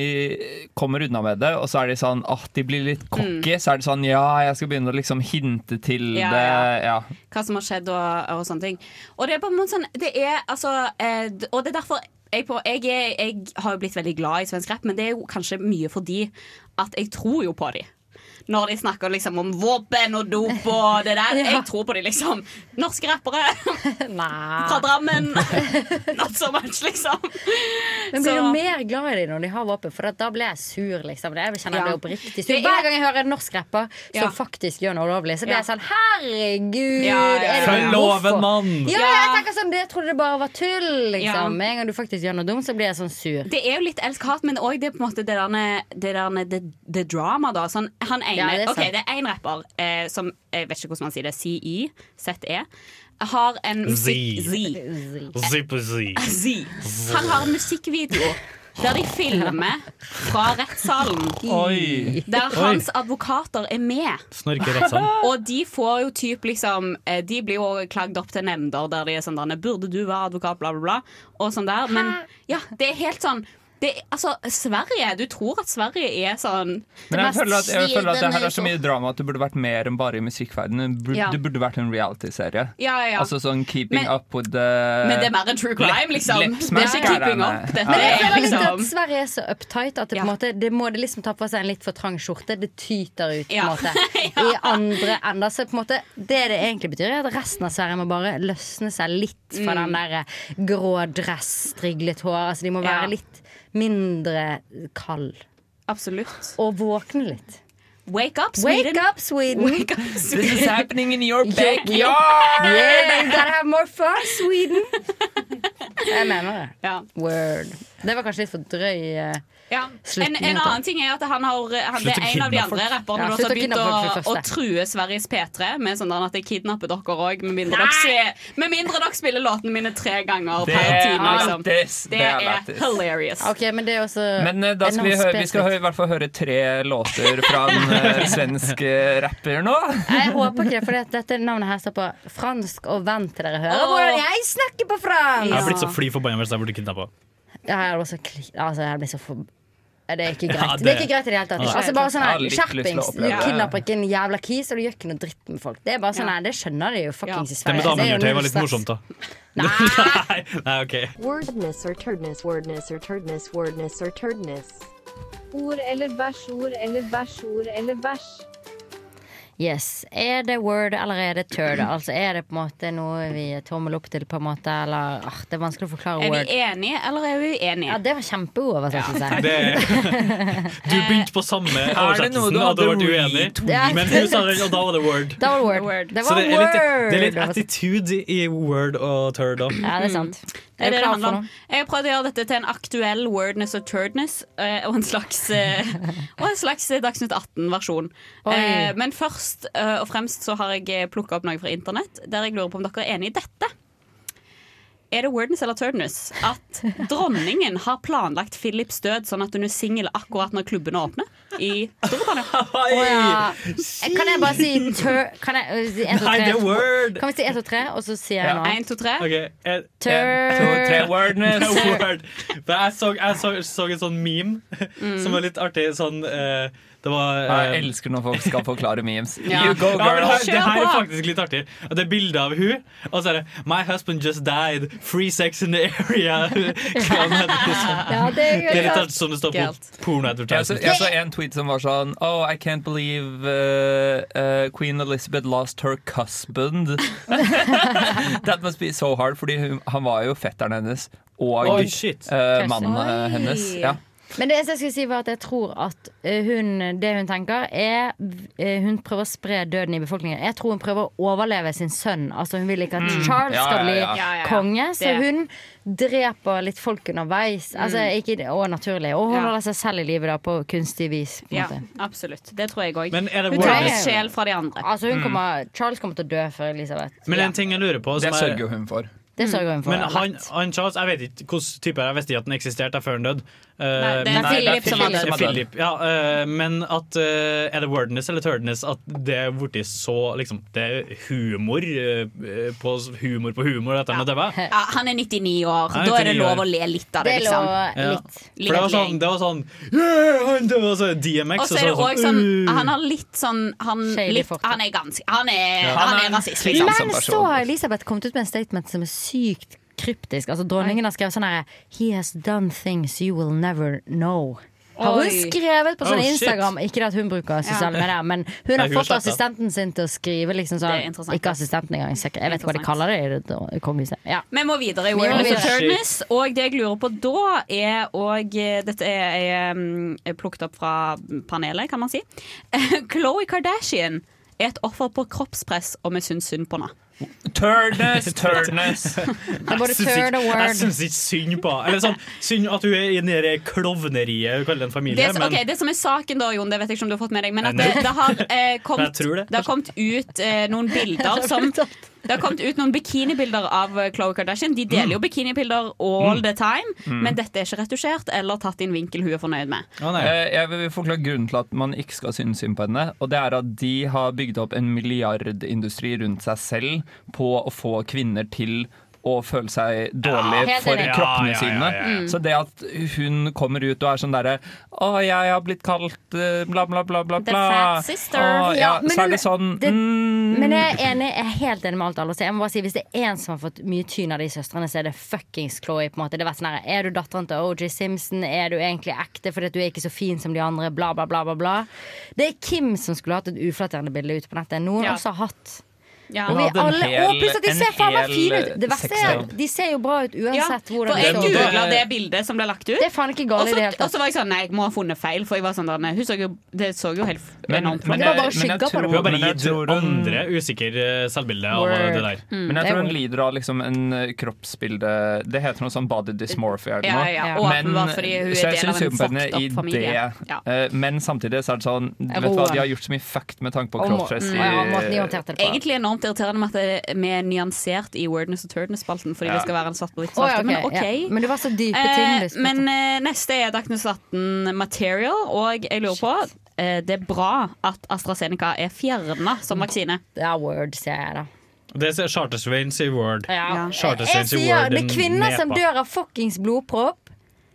kommer unna med det, og så er de sånn at de blir litt cocky. Så er det sånn ja, jeg skal begynne å liksom hinte til
Ja,
det. Ja.
hva som har skjedd og, og sånne ting. Og det er på en måte sånn Det er altså eh, d- Og det er derfor jeg, på, jeg, er, jeg har jo blitt veldig glad i svensk rapp, men det er jo kanskje mye fordi at jeg tror jo på dem. Når de snakker liksom om våpen og dop og det
*laughs*
der. Jeg tror på dem, liksom. Norske rappere
Ah.
fra Drammen. *laughs* Not so much, liksom.
Men blir
Så-
du mer glad i dem når de har våpen? For at da blir jeg sur, liksom. Jeg kjenner
Ja.
jeg blir oppriktig sur.
Det er-
Hver gang jeg hører en norsk rapper som
Ja.
faktisk gjør noe ulovlig, så blir
Ja.
jeg sånn Herregud!
Ja, ja, ja.
er det
Følg
hvorfor?»
loven, mann.
Ja,
Ja.
jeg tenker sånn, det trodde det bare var tull,
Ja.
liksom. Med en gang du faktisk gjør noe dumt, så blir jeg sånn sur.
Det er jo litt elsk-hat, men òg det på en måte det der, det der det, det drama, da. Sånn, han ene,
Ja, det er sant.
ok, det er én rapper eh, som Jeg vet ikke hvordan man sier det. CI. ZE. E. Har en musikk... Z.
Zippazy.
Z. Han har en musikkvideo der de filmer fra rettssalen.
Oi.
Der
Oi.
hans advokater er med.
Snorker rettssalen.
Og de får jo typ liksom eh, De blir jo klagd opp til nemnder der de er sånn der, 'Burde du være advokat?' bla, bla, bla. Og sånn der. Men ja, det er helt sånn det, altså, Sverige Du tror at Sverige er sånn
Men jeg føler, at, jeg føler at det her er så mye drama at det burde vært mer enn bare i musikkverdenen. Det burde-
Ja.
Det burde vært en reality-serie.
Ja, ja, ja.
Altså sånn keeping
Men-
up with the
Men det er mer enn true crime,
Lep-
liksom. Det er ikke
leppsmerker,
keeping
denne.
up. Dette
Ja.
Men jeg
er
føler litt
liksom-
at Sverige er så uptight at det, på en måte, det må det liksom ta på seg en litt for trang skjorte. Det tyter ut på en
*laughs* Ja.
måte i andre ender. Så på en måte, det det egentlig betyr, er at resten av Sverige må bare løsne seg litt fra
Mm.
den der eh, grå dress, striglet hår. Altså, de må være
Ja.
litt mindre kald.
Absolutt.
Og våkne litt.
Wake up,
Wake
Sweden.
up, Sweden!
Wake up, Sweden.
This is
*laughs*
happening in your
backyard.
Yeah, you gotta have more fun,
*laughs*
Sweden! Jeg mener det. Word. Det var kanskje litt for drøy eh,
Ja.
Slutt
En,
med
en
det.
annen ting er at han har eh, han, Det
Slutt å
er en av de
kidnappe
andre
folk.
rapperne
Ja,
som
slutt
har
å
begynt å,
kidnappe folk
å
først, da.
true Sveriges P3 med sånn der at jeg kidnapper dere òg, med, mindre dere se- med mindre dere spiller låtene mine tre ganger
Det
per
er
time. Liksom.
lættis. Det
Det
er
er
lættis.
hilarious.
Ok, men det er også
Men eh, da skal vi,
enormt
høre, vi skal
spesifikt.
høre, i hvert fall høre tre låter fra en
*laughs*
eh, svensk eh, rapper nå.
Nei, Jeg håper ikke det, for dette navnet her står på fransk, og vent til dere hører
Åh.
hvordan jeg snakker på
Jeg
fransk!
har blitt så fly forbanna hvis jeg burde kidnappa.
Ja, jeg hadde også kli- altså, jeg ble så for... Det er ikke greit.
Ja,
det...
det-
er ikke greit i det hele tatt.
Ja.
Altså, bare sånn
Jeg har
her,
litt lyst til å
Skjerpings!
oppleve det.
Du kidnapper ikke en jævla kis, og du gjør ikke noe dritt med folk. Det er bare sånn her, det skjønner de jo fuckings i
Det med
Sverige. Det er jo
dameundertøy
null
var litt
stress.
morsomt, da. *laughs* Nei, Nei OK.
*laughs*
Wordness or turdness, wordness or turdness, wordness or turdness.
Ord eller bæsj, ord eller bæsj, ord eller bæsj.
Yes. Er det word, eller er det turd? Altså, er det på en måte noe vi gir tommel opp til, på en måte, eller ah, Det er vanskelig å forklare
Er
word.
vi enige, eller er vi uenige?
Ja, det var kjempeoversettelse.
*laughs* Du begynte på samme
*laughs* Er det noe
oversettelsen, og da
du
ble
hadde
du uenig.
retweetet?
Men hun sa den, og da var det word.
Det var word. Det
Så
var
det er litt, det er litt
word.
attitude i word og turd òg.
Ja, det er sant.
Det er det det
klar
handler
for
om. Jeg har prøvd å gjøre dette til en aktuell wordness og turdness, eh, og en slags, eh, og en slags eh, Dagsnytt 18-versjon.
Oi.
Eh, Men først eh, og fremst så har jeg plukka opp noe fra internett der jeg lurer på om dere er enig i dette. Er det wordness eller turdness at dronningen har planlagt Philips død sånn at hun er singel akkurat når klubbene åpner i Storbritannia?
Åja. Kan jeg bare si tur... Kan jeg eh, si 1, 2,
Nei,
3?
det er word.
Kan vi si 1, 2, 3, og så sier jeg
Ja.
noe annet?
En, to, tre.
Ok, en,
Tur-
en, to, tre wordness. *laughs*
Tur-
Word. Men jeg så, jeg så, så en sånn meme *laughs*
Mm.
som var litt artig. Sånn, eh, det var eh,
Jeg elsker når folk skal forklare memes.
Ja.
You go,
Ja, men
girl!
her, det her er faktisk litt artig. Og Det er bilde av hun, og så er det 'My husband just died. Free sex in the area'. *laughs* Hva han heter, liksom.
Ja, det er
det er litt
gøy.
artig som det står på
Galt. Jeg så,
pornoadvertisement.
jeg så en tweet som var sånn Oh, I can't believe uh, uh, Queen Elizabeth lost her husband. That must be so hard, fordi hun, han var jo fetteren hennes og
Oi, shit.
uh, mannen uh,
Oi.
hennes. Ja.
Men det jeg skulle si var at jeg tror at eh, hun, det hun tenker, er eh, Hun prøver å spre døden i befolkningen. Jeg tror hun prøver å overleve sin sønn. Altså Hun vil ikke at
Mm.
Charles
Ja, ja,
skal bli
ja. Ja, ja, ja.
konge, så
Det.
hun dreper litt folk underveis. Altså,
Mm.
ikke, og naturlig. Og hun
Ja.
holder seg selv i live da, på kunstig vis. På en
Ja,
måte.
absolutt. Det tror jeg òg.
Men er det
Hun tar
wordness?
sjel fra de andre.
Altså, hun
Mm.
kommer, Charles kommer til å dø før Elisabeth.
Men en ting jeg lurer på
Det sørger hun for.
Det sørger hun for.
Men han, han Charles, jeg vet ikke hvilken type er, jeg visste ikke at han eksisterte før han døde. Eh,
Nei, det er
men-
Philip
det er
som er død.
Det er Philip, ja, eh, men at eh, er det wordness eller turdness at det er blitt så liksom, Det er humor eh, på humor på humor, dette med å
*laughs*
dø?
Ja, han er 99 år.
Han er
Da er det
99
lov
år.
å le litt
Det
av det,
er
liksom.
lov-
Ja.
Litt
For det var
leng.
sånn, det var sånn yeah, han døde, og så er det DMX,
Og så er det
var
også sånn
«Uh».
Han har litt sånn Han,
Shady
litt, han er ganske Han er,
Ja.
han
Han er
er
en
rasist,
klisjé.
liksom.
Men så har Elisabeth kommet ut med en statement som er sykt kryptisk. Altså Dronningen har skrevet sånn her He has done things you will never know. Har hun
Oi.
skrevet på sånn
Oh, shit.
Instagram? Ikke det at hun bruker sosiale
Ja.
medier, men
Nei,
hun har
hun
fått
slett, da.
assistenten sin til å skrive liksom
Det er
sånn.
interessant.
Ikke assistenten engang, sikkert. Jeg vet ikke hva de kaller det i det i kongehuset. Ja.
Vi må videre
Vi
i
må
Wordness og
videre.
Turdness. Og det jeg lurer på da, er og Dette er, er, mm, er plukket opp fra panelet, kan man si. *laughs* Khloé Kardashian er et offer på kroppspress, og vi syns synd på henne.
*laughs*
Turdness,
*laughs*
turdness.
er både
uh, Jeg syns
turd
ikke-
og word.
Jeg syns ikke synd på henne. Eller sånn, synd at hun er i det der klovneriet hun kaller en familie.
Det, som-
men
ok, det som er saken da, Jon, det vet jeg ikke om du har fått med deg, men at
Nei,
det,
nei.
det, har,
*laughs*
eh, kommet,
Jeg tror det.
det har kommet ut eh, noen
*laughs*
bilder som det har kommet ut noen bikinibilder av Khloe Kardashian. De deler jo bikinibilder all
Mm.
the time,
Mm.
men dette er ikke retusjert eller tatt i en vinkel hun er fornøyd med.
Eh, Jeg vil forklare grunnen til at man ikke skal synes synd på henne. Og det er at de har bygd opp en milliardindustri rundt seg selv på å få kvinner til å føle seg dårlig
helt
for
enig. Ja,
kroppene
ja,
sine.
ja, ja, ja. Mm.
Så det at hun kommer ut og er sånn derre Å, jeg har blitt kalt eh, bla, bla, bla, bla,
The
bla.
fat sister.
Å, ja,
Ja, men
så
hun-
er det sånn
det-
mm,
Men jeg er, enig, jeg er helt enig med alt alle sier. Jeg må bare si, Hvis det er én som har fått mye tyn av de søstrene, så er det fuckings Chloé. på en måte. Det har vært sånn her, Er du datteren til OJ Simpson? Er du egentlig ekte fordi at du er ikke så fin som de andre? Bla, bla, bla. bla, bla. Det er Kim som skulle hatt et uflatterende bilde ute på nettet. Noen
Ja.
også har hatt.
Ja.
Og, vi
Hun hadde en
alle,
hel-
og pluss at de
en
ser faen meg
hel
fine ut! Det verste er,
sextape.
de ser jo bra ut uansett
For
hvordan de
jeg
står.
googla det bildet som ble lagt ut.
Det er faen ikke
Og
galt i det hele
så- og
tatt.
så var jeg sånn Nei, jeg må ha funnet feil, for jeg var sånn der, nei, hun så jo, det så jo helt enormt flott ut.
tror-
Hun har bare
men jeg
gitt
tror hun-
andre usikker eh, selvbilde av eh, det der.
Mm. Men jeg tror hun lider av liksom en eh, kroppsbilde Det heter noe sånn body dysmorphia. eller
Ja,
noe.
ja, og
Men-
åpenbart fordi hun er
så jeg
del av
synes
en
synd på henne
fucked up
i
familie.
det.
Ja.
Eh, Men samtidig så er det sånn du vet hva,
Roen.
De har gjort så mye fucked med tanke på
Og må-
kroppspress.
mm,
i-
ja, og måten de håndterte det på. Egentlig enormt irriterende med at det- vi er nyansert i Wordness og Turdness-spalten. Fordi
Ja.
det skal være en svart på hvitt
Å, ja,
sak. Men
ok,
ok.
ja. Men det var så dype ting liksom. du
Eh,
spurte
men eh, neste er Dagnus 18 Material, og jeg lurer på eh, Det er bra at AstraZeneca er fjerna som vaksine.
Det er word, ser jeg da.
Det er Chartersveins i Word.
Ja. Jeg
Chartersveins i
sier
Word.
det er kvinner som
nepa.
dør av fuckings blodpropp.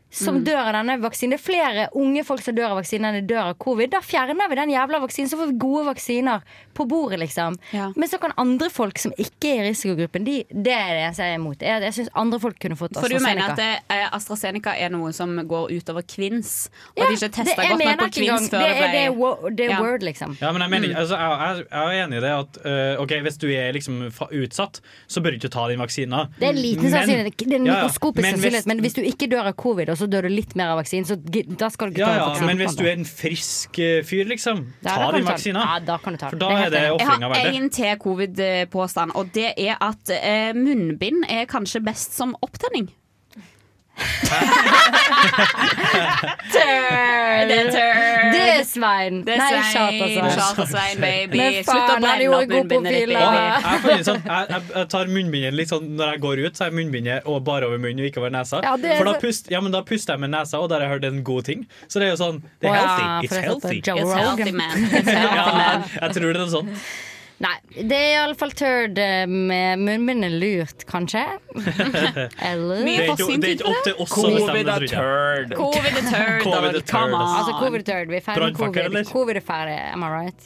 Mm.
Som dør av denne vaksinen. Det er flere unge folk som dør av vaksinen enn det dør av covid. Da fjerner vi den jævla vaksinen, så får vi gode vaksiner på bordet, liksom. Men så kan andre folk som ikke er i risikogruppen, de, det er det jeg er imot. Jeg, jeg syns andre folk kunne fått
For du mener
AstraZeneca.
at det, eh, AstraZeneca er noe som går utover kvinns? Og
Ja,
at de ikke
det-
testa
jeg
godt nok
mener
på
ikke
kvinns
engang.
før
Det
det,
er-
ble
det er wo- det er word, liksom.
Ja, men jeg, mener, ikke- altså, jeg, jeg, jeg er enig i det at eh, ok, hvis du er liksom fa- utsatt, så bør du ikke ta den vaksinen.
Det er liten
Men-
sannsynlighet. Det er
Ja, ja.
mikroskopisk
Men hvis-
sannsynlighet. Men hvis du ikke dør av covid, og så dør du litt mer av vaksinen, så gi- da skal du ikke
Ja,
ta
ja,
vaksinen.
men hvis du er en frisk eh, fyr, liksom,
Ja,
ta
da kan
den
du ta den.
vaksinen.
Ja, da kan du ta
For
den.
da
Det er
er
helt
det
enig.
Jeg
ofringa
har
verdt det.
én til covid-påstand, og det er at eh, munnbind er kanskje best som opptenning.
Turd.
Det er turd.
This Svein.
Det er
Nei,
Svein.
Chat, altså.
Chat og Svein, baby.
Men
Slutt å
faen, han
blande
er jo
opp
en god
munnbindet
profil.
ditt, baby.
da.
Jeg, føler sånn, jeg, jeg, jeg tar munnbindet litt sånn når jeg går ut, så er munnbindet og bare over munnen og ikke over nesa.
Ja, det er
for da,
så-
pust, ja, men da puster jeg med nesa, og der har jeg hørt en god ting. Så det er jo sånn Det
Å
er
ja,
healthy.
for
It's
det er sånn
healthy.
Joe It's healthy, Rogan. man. It's healthy,
ja,
man.
jeg tror det er sånn.
Nei, det er iallfall turd eh, med munnbindet lurt, kanskje. Eller
Det er ikke- det er ikke opp til oss å bestemme det, tror jeg.
Covid is turd.
Covid is turd, ass.
Altså, covid er turd. Vi er ferdig med
Brannfakkel,
covid.
eller?
Covid er ferdig. Am I right?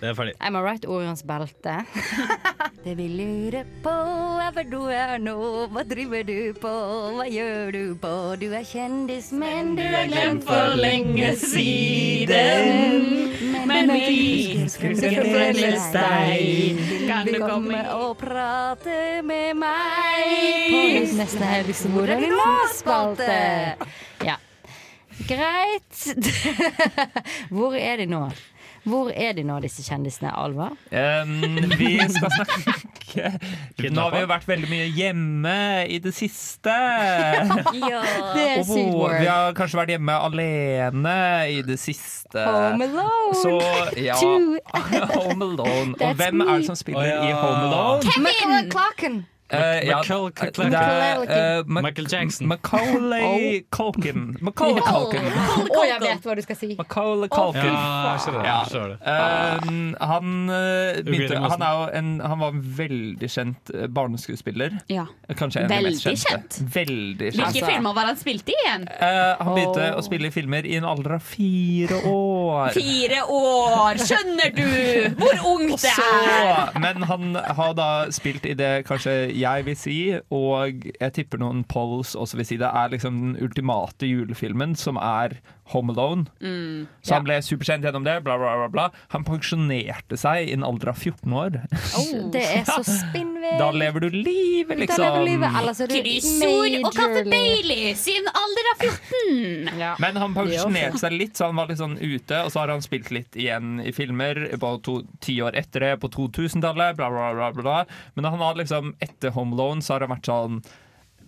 Det er ferdig.
Am I right, Orions belte? *laughs* det vi lurer på er hva du er nå. Hva driver du på, hva gjør du på? Du er kjendis, men du er glemt for lenge siden.
Men vi husker fremdeles deg. Kan du komme
og prate med meg på nesten helgs Hvordan i nå-spalte? Ja. Greit. *laughs* Hvor er de nå? Hvor er de nå, disse kjendisene? Alva?
*laughs*
Um, vi skal snakke Nå har vi jo vært veldig mye hjemme i det
*laughs*
siste.
Ja. Det er
Og
sykt word.
Vi har kanskje vært hjemme alene i det siste.
Home Alone.
Så,
*laughs*
ja,
Two.
*laughs* Home Alone.
That's
Og hvem er det som spiller i Home Alone?
Kevin Clarken!
Eh, ja,
Macaul-
det er,
Macaulay-
eh, Mac-
Michael Jackson.
Macaulay Culkin. Oh. Macaulay Culkin.
Å, jeg vet hva du skal si.
Macaulay
Ja,
Culkin.
jeg skjønner det.
Ja.
Jeg skjønner det.
Um, han, eh, begynte,
Ugly
han, er jo en, han var en veldig kjent eh, barneskuespiller.
Ja. Altså-
Kanskje en av de mest
Veldig
kjente.
kjent.
Veldig kjent.
Hvilke filmer var det han spilte i igjen?
Eh, han begynte å spille i filmer i en alder av fire år.
Fire år! Skjønner du hvor ungt det er?
Så, men han har da spilt i det kanskje jeg vil si, og jeg tipper noen polls også vil si det, er liksom den ultimate julefilmen, som er Home Alone.
Mm.
Så han ble superkjent gjennom det, bla, bla, bla. bla. Han pensjonerte seg i en alder av 14 år.
Det er så spinnvilt.
Da lever du livet, liksom.
Da lever du livet, ellers er du
Kryssord og Kaffe
majorly-
Bailey siden alder av 14!
Men han
Ja.
pensjonerte seg litt, så han var litt sånn ute. Og så har han spilt litt igjen i filmer på to, ti år etter det, på 2000-tallet, bla, bla, bla, bla. Men han har liksom, etter Home Loan så har han vært sånn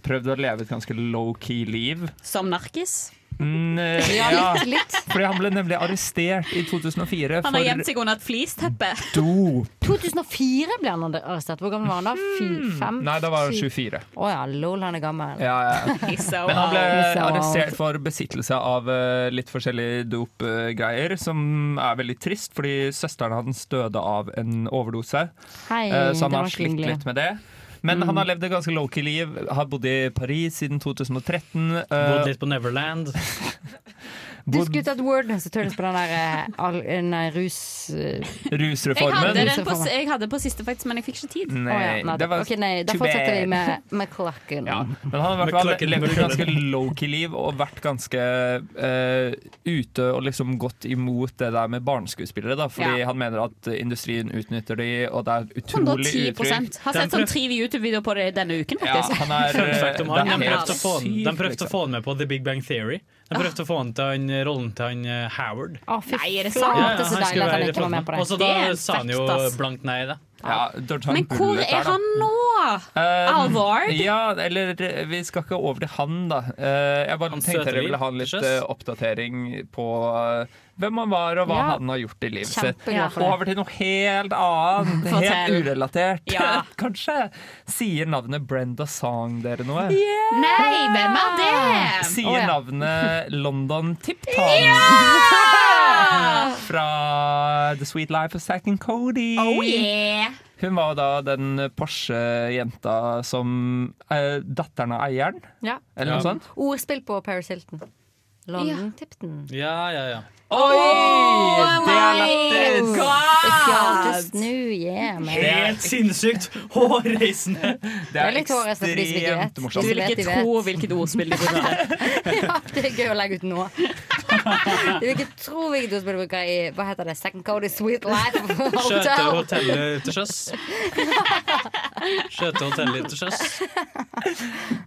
Prøvd å leve et ganske low-key liv.
Som narkis.
Mm, eh,
Ja, litt, litt.
Fordi han ble nemlig arrestert i 2004
Han har gjemt
for
seg under et *laughs* flisteppe.
dop.
2004 ble han arrestert. Hvor gammel var han da? Fy- Fem?
Hmm. Nei, da var han Eh,
syv.
24.
Å ja, lol, han er gammel.
Ja, ja.
He's so
Men han ble
He's so
arrestert
old.
for besittelse av eh, litt forskjellige dopgreier, som er veldig trist, fordi søsteren hans døde av en overdose.
Hei,
Eh, så
det
han
var
har slitt
hyggelig.
litt med det. Men
Mm.
han har levd et ganske lowkey liv. Har bodd i Paris siden 2013.
Bodd litt på *laughs* Neverland.
Du skulle tatt Warden så tør du på den der eh, al, nei, rus... eh,
Jeg
Rusreformen.
hadde den på, jeg hadde på siste, faktisk, men jeg fikk ikke tid.
Nei,
Å ja, nei,
det var
ok, nei, da
too
fortsetter vi
bad.
med McClucken.
Ja, men han har i hvert
Med
fall
klokken,
levd
med
et
klokken.
ganske low-key-liv og vært ganske eh, ute og liksom gått imot det der med barneskuespillere, da, fordi
Ja.
han mener at industrien utnytter de, og det er utrolig
110
utrygt.
Har sett sånn tre YouTube-videoer på det denne uken,
Ja,
faktisk.
han er, eh,
Fun fact om han,
det er
de
helt
prøvde, å få han,
sykt,
de prøvde å få han med på The Big Bang Theory. De prøvde å få han til han, rollen til han eh, Howard.
Å, fy
Nei, er det
flate,
sant?
Ja, ja,
så
han
deilig
skulle
at han
være
ikke var med på det.
Og så
Det
da
er en
sa han jo
fact, ass.
blankt nei, da.
Ja, da tar han
Men hvor
bullet der,
er
da.
han nå?
Eh,
Alvor?
Ja, eller eh, vi skal ikke over til han, da. Eh, jeg bare
Hans
tenkte
søte
dere
liv,
ville ha en litt
til
eh,
sjøs.
oppdatering på eh, hvem han var, og hva
Ja.
han har gjort i livet sitt.
Kjempeglad for det.
Over til noe helt annet, helt
Fortell.
urelatert.
Ja.
*laughs* Kanskje sier navnet Brenda Song dere noe?
Nei, hvem er det?
Sier
Å, ja.
navnet London Tipton
Ah!
fra The Sweet Life of Zack and Cody.
Oh yeah!
Hun var da den Porsche-jenta som eh, Datteren av eieren,
Ja.
eller noe sånt?
Ordspill på Paris Hilton. London Tipton.
Ja, ja, ja.
Oi!
det er lættis!
Fjoltes nå, yeah, man.
Helt sinnssykt! Hårreisende!
Det er litt hårreisende for de som ikke vet.
Du
vet,
vil
de
ikke
vet.
tro hvilket ordspill de brukte.
*laughs* ja, det er gøy å legge ut nå. *laughs* Du vil ikke tro hvilket ordspill du bruker i Hva heter det? Second Cody Sweet
*laughs*
Life
Skjøte
Hotel.
hotellet til sjøs. Skjøte hotellet til sjøs.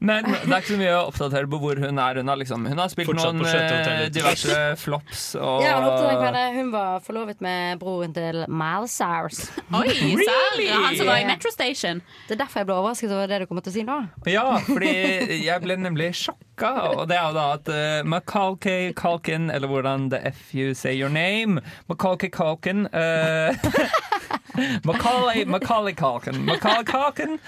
Men det er ikke så mye å oppdatere på hvor hun er. Hun har, liksom, hun har spilt
Fortsatt på
noen eh,
skjøtehotellet.
diverse flops og
Ja, han oppdaget meg det. Hun var forlovet med broren til Miles Cyrus.
*laughs* Oi,
Really?
sant? Han som var i Metro Station.
Det er derfor jeg ble overrasket over det du kommer til å si nå.
Ja, fordi jeg ble nemlig sjokka uka. Og det er jo da at eh, Macaulay Culkin, eller hvordan the F you say your name Macaulay Culkin eh, *laughs* Macaulay, Macaulay Culkin Macaulay Culkin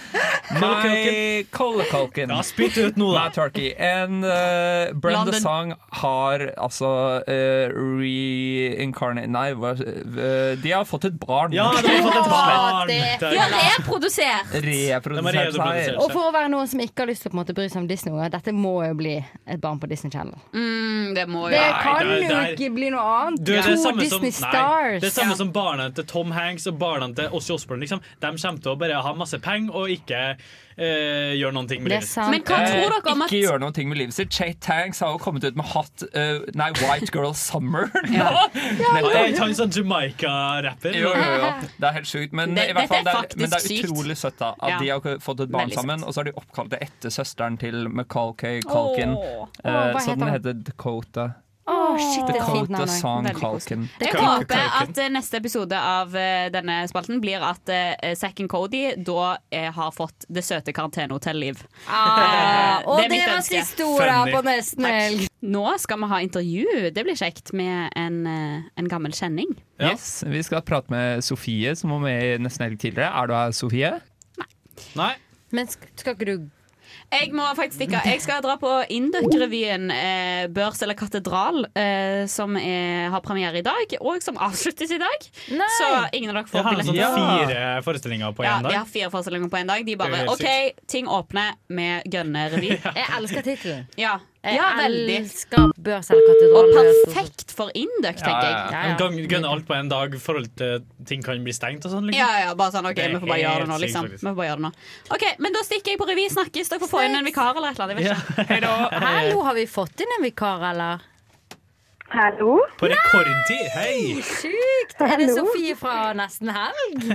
My Cola Culkin
Ja, spytt ut nå, da.
My Turkey And eh, Brenda
London.
Song har altså uh, reincarnate Nei, hva, eh, de har fått et barn
Ja, de har fått et barn.
Ja, det er produsert!
Reprodusert seg
Og for å være noen som ikke har lyst til å på en måte, bry seg om Disney, unger, dette må jo bli et barn på Disney Channel.
Mm, det må jo
Det
Nei,
kan
det er-
jo
det er-
ikke bli noe annet.
Du, det er
to
det samme som-
Disney
nei,
Stars.
Det er samme som barna til Tom Hanks og barna til Ossi Osborne. Liksom. De kommer til å bare ha masse penger og ikke eh, gjøre noen ting med livet sitt.
Eh, Ikke gjøre noe med livet sitt. Chay Tanks har jo kommet ut med Hot eh, Nei, White Girl Summer.
*laughs* Ja.
Nettopp.
Han er ikke han sånn Jamaica-rapper?
Jo, jo, jo. Det er helt sjukt. Men,
Det-
i hvert fall,
dette
det
er
er, men det
faktisk
er
sykt.
utrolig søtt da, at
Ja.
de har fått et barn
Veldig
sammen, og så har de oppkalt det etter søsteren til Macaulay Culkin.
Åh.
eh,
Åh, hva
så
heter
den
han?
heter Dakota.
Åh, shit, det er et fint
Dakota
navn, nei.
Song
Veldig koselig.
Culkin.
Jeg håper at eh, neste episode av eh, denne spalten blir at eh, Zack and Cody da eh, har fått det søte karantenehotell-liv.
Ah,
Eh,
og det
mitt
var
ønske.
siste ordet Funny. på Nesten
Takk.
Helg.
Nå skal vi ha intervju. Det blir kjekt med en, eh, en gammel kjenning.
Yes, Vi skal prate med Sofie, som var med i Nesten Helg tidligere. Er du her, Sofie? Nei.
Men sk- skal ikke du
Jeg må faktisk stikke. Jeg skal dra på Indøk-revyen eh, Børs eller katedral, eh, som er, har premiere i dag, og som avsluttes i dag. Så ingen av dere
Jeg
får
har sånn
billetter.
fire forestillinger på
ja,
én
de
dag.
har fire forestillinger på én dag.
Det
De
er
bare
jo helt
OK, ting åpner med gønne revy.
*laughs*
Jeg elsker tittelen.
Ja,
Jeg
ja veldig.
elsker Børs eller katedral.
Og perfekt for Indøk,
Ja,
tenker
ja.
jeg.
Man kan gønne alt på en dag i forhold til ting kan bli stengt og sånn. liksom.
Ja, ja, bare sånn, ok,
Det er
vi får bare gjøre det nå,
helt sykt,
liksom.
faktisk.
Vi får bare gjøre det nå. OK, men da stikker jeg på revy. Snakkes. Dere får få inn en vikar eller et eller annet. Jeg vet ikke.
Hæ, nå har vi fått inn en vikar, eller?
Hallo?
På rekordtid! Hei!
Sykt! Er det
Hallo.
Sofie fra Nesten Helg?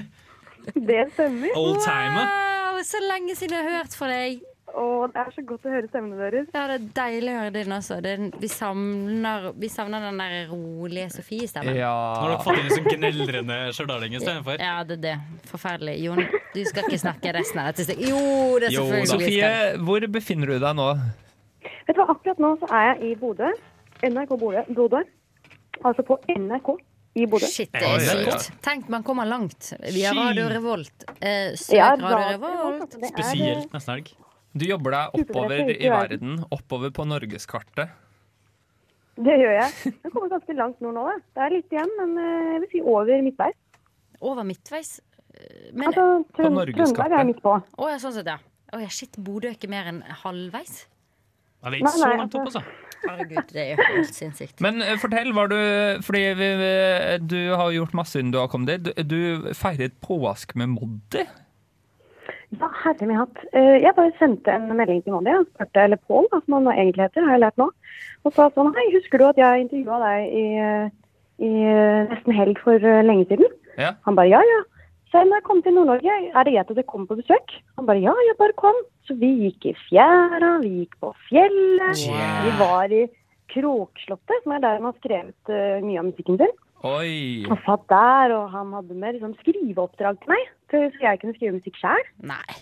Det stemmer.
Oldtimer.
Wow, så lenge siden jeg har hørt fra deg.
det er så godt å høre stemmene deres.
Ja, det er deilig å høre din også. Det, er- vi, savner, vi savner den der rolige Sofie-stemmen.
Nå har dere fått inn en sånn gneldrende stjørdalling istedenfor.
Ja, det er det. Forferdelig. Jon, du skal ikke snakke resten av dette stedet. Jo, det er
Jo,
selvfølgelig.
Sofie,
skal du.
hvor befinner du deg nå?
Vet du hva, akkurat nå så er jeg i Bodø. NRK Bodø. Bodø. Altså på NRK i Bodø.
Shit, det er sykt. Tenk, man kommer langt. Via
Fy.
Radio Revolt. Eh, Søk
Ja,
Radio
Radio
Revolt.
Spesielt nesten helg. Du jobber deg oppover i verden, oppover på norgeskartet.
*laughs* Det gjør jeg. Jeg kommer ganske langt nord nå, da. Det er litt igjen, men eh, jeg vil si over midtveis.
Over midtveis? Eh, Men,
Altså,
På
Trøn-
Norgeskartet.
Trøndelag er midt på.
Å ja, sånn sett, ja. Å ja, shit, Bodø er ikke mer enn halvveis?
Ja,
er
det
ikke Nei, så nei, langt opp,
altså.
Herregud, det er jo helt sinnssykt.
Men eh, fortell, var du Fordi vi, vi- du har gjort masse siden du har kommet dit. Du, du feiret påask med Moddi.
Ja, herre min hatt. Eh, Jeg bare sendte en melding til Mandy, jeg spurte, eller Pål, da, som han egentlig heter, har jeg lært nå, og sa sånn Hei, husker du at jeg intervjua deg i, eh, i eh, nesten helg for eh, lenge siden?
Ja.
Han bare ja, ja. Så når jeg kom til Nord-Norge, er det greit at jeg kommer på besøk? Han bare ja, jeg bare kom. Så vi gikk i fjæra, vi gikk på fjellet,
Yeah.
vi var i Kråkslottet, som er der han har skrevet eh, mye av musikken sin.
Oi!
Han satt der, og han hadde med liksom, skriveoppdrag til meg, til- så jeg kunne skrive musikk sjøl.
Nei.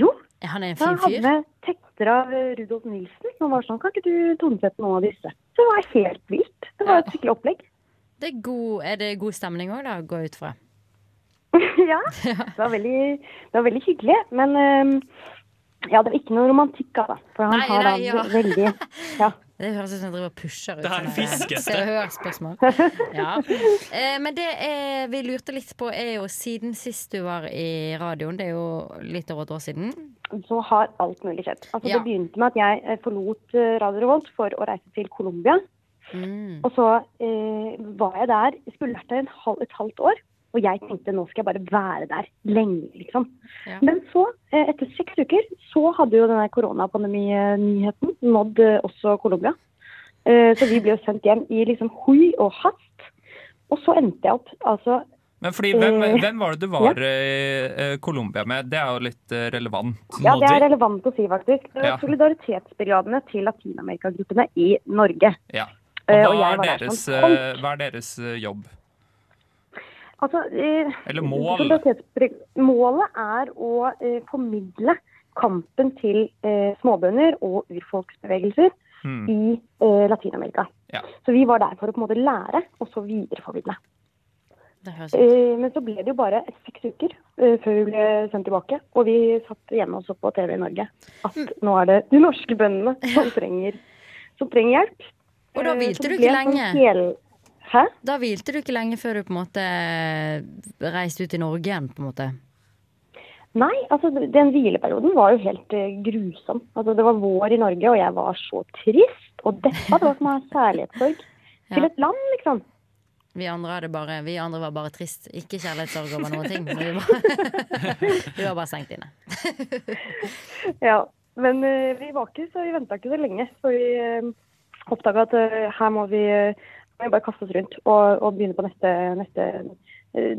Jo.
Han er en
Han
fin
hadde
fyr.
med tekster av eh, Rudolf Nilsen. Han var sånn, kan ikke du tonesette noen av disse? Så det var helt vilt. Det var et skikkelig opplegg. *laughs*
Det er, god, er det god stemning òg, da, går jeg ut fra?
ja. Det var veldig, det var veldig hyggelig. Men eh, ja, det var ikke noe romantikk, altså. For han
Nei,
har da
nei, ja.
veldig ja.
Det høres ut som jeg driver og pusher ut.
Det her
sånne
fiskes
Se
det.
og Hør-spørsmål. Ja. Eh, men det eh, vi lurte litt på, er jo siden sist du var i radioen, det er jo litt over et år siden.
Så har alt mulig skjedd. Altså,
Ja.
Det begynte med at jeg eh, forlot eh, Radio Revolt for å reise til Colombia.
Mm,
Og så eh, var jeg der, skulle vært der en halv, et halvt år, og jeg tenkte nå skal jeg bare være der lenge, liksom.
Ja.
Men så, eh, etter seks uker, så hadde jo denne koronapandemi-nyheten nådd eh, også Colombia. Eh, så vi ble jo sendt hjem i liksom hui og hast. Og så endte jeg opp altså
Men fordi, hvem,
Eh,
hvem var det du var eh, eh, Colombia med? Det er jo litt eh, relevant.
Ja, det er
Moddi.
relevant å si, faktisk. Det var
Ja.
solidaritetsbrigadene til Latin-Amerika-gruppene i Norge.
Ja.
Eh,
Og
og
hva
jeg
er
var der
deres,
som
eh, hva er deres eh, jobb?
Altså, eh,
Eller mål.
Mm,
solidaritetsbri- Målet er å eh, formidle kampen til eh, småbønder og urfolksbevegelser
Mm.
i eh, Latin-Amerika.
Ja.
Så vi var der for å på en måte lære, og så videreformidle.
Det høres ut.
Eh, men så ble det jo bare seks uker eh, før vi ble sendt tilbake. Og vi satt hjemme og så på TV i Norge at nå er det de norske bøndene som trenger, som trenger hjelp.
Og da
Eh,
hvilte
så
du
det
ikke
ble en
lenge?
sånn hel- Hæ?
Da hvilte du ikke lenge før du på en måte reiste ut i Norge igjen, på en måte.
Nei, altså den hvileperioden var jo helt eh, grusom. Altså Det var vår i Norge, og jeg var så trist og deppa. Det var som å ha kjærlighetssorg til et land, liksom.
Vi andre, hadde bare, vi andre var bare trist. Ikke kjærlighetssorg over noen ting. Vi var, *laughs* vi var bare stengt inne.
Ja, Men eh, vi var ikke så, vi venta ikke så lenge. Så vi uh, oppdaga at eh, her må vi, eh, må vi bare kaste oss rundt og, og begynne på neste, neste, eh,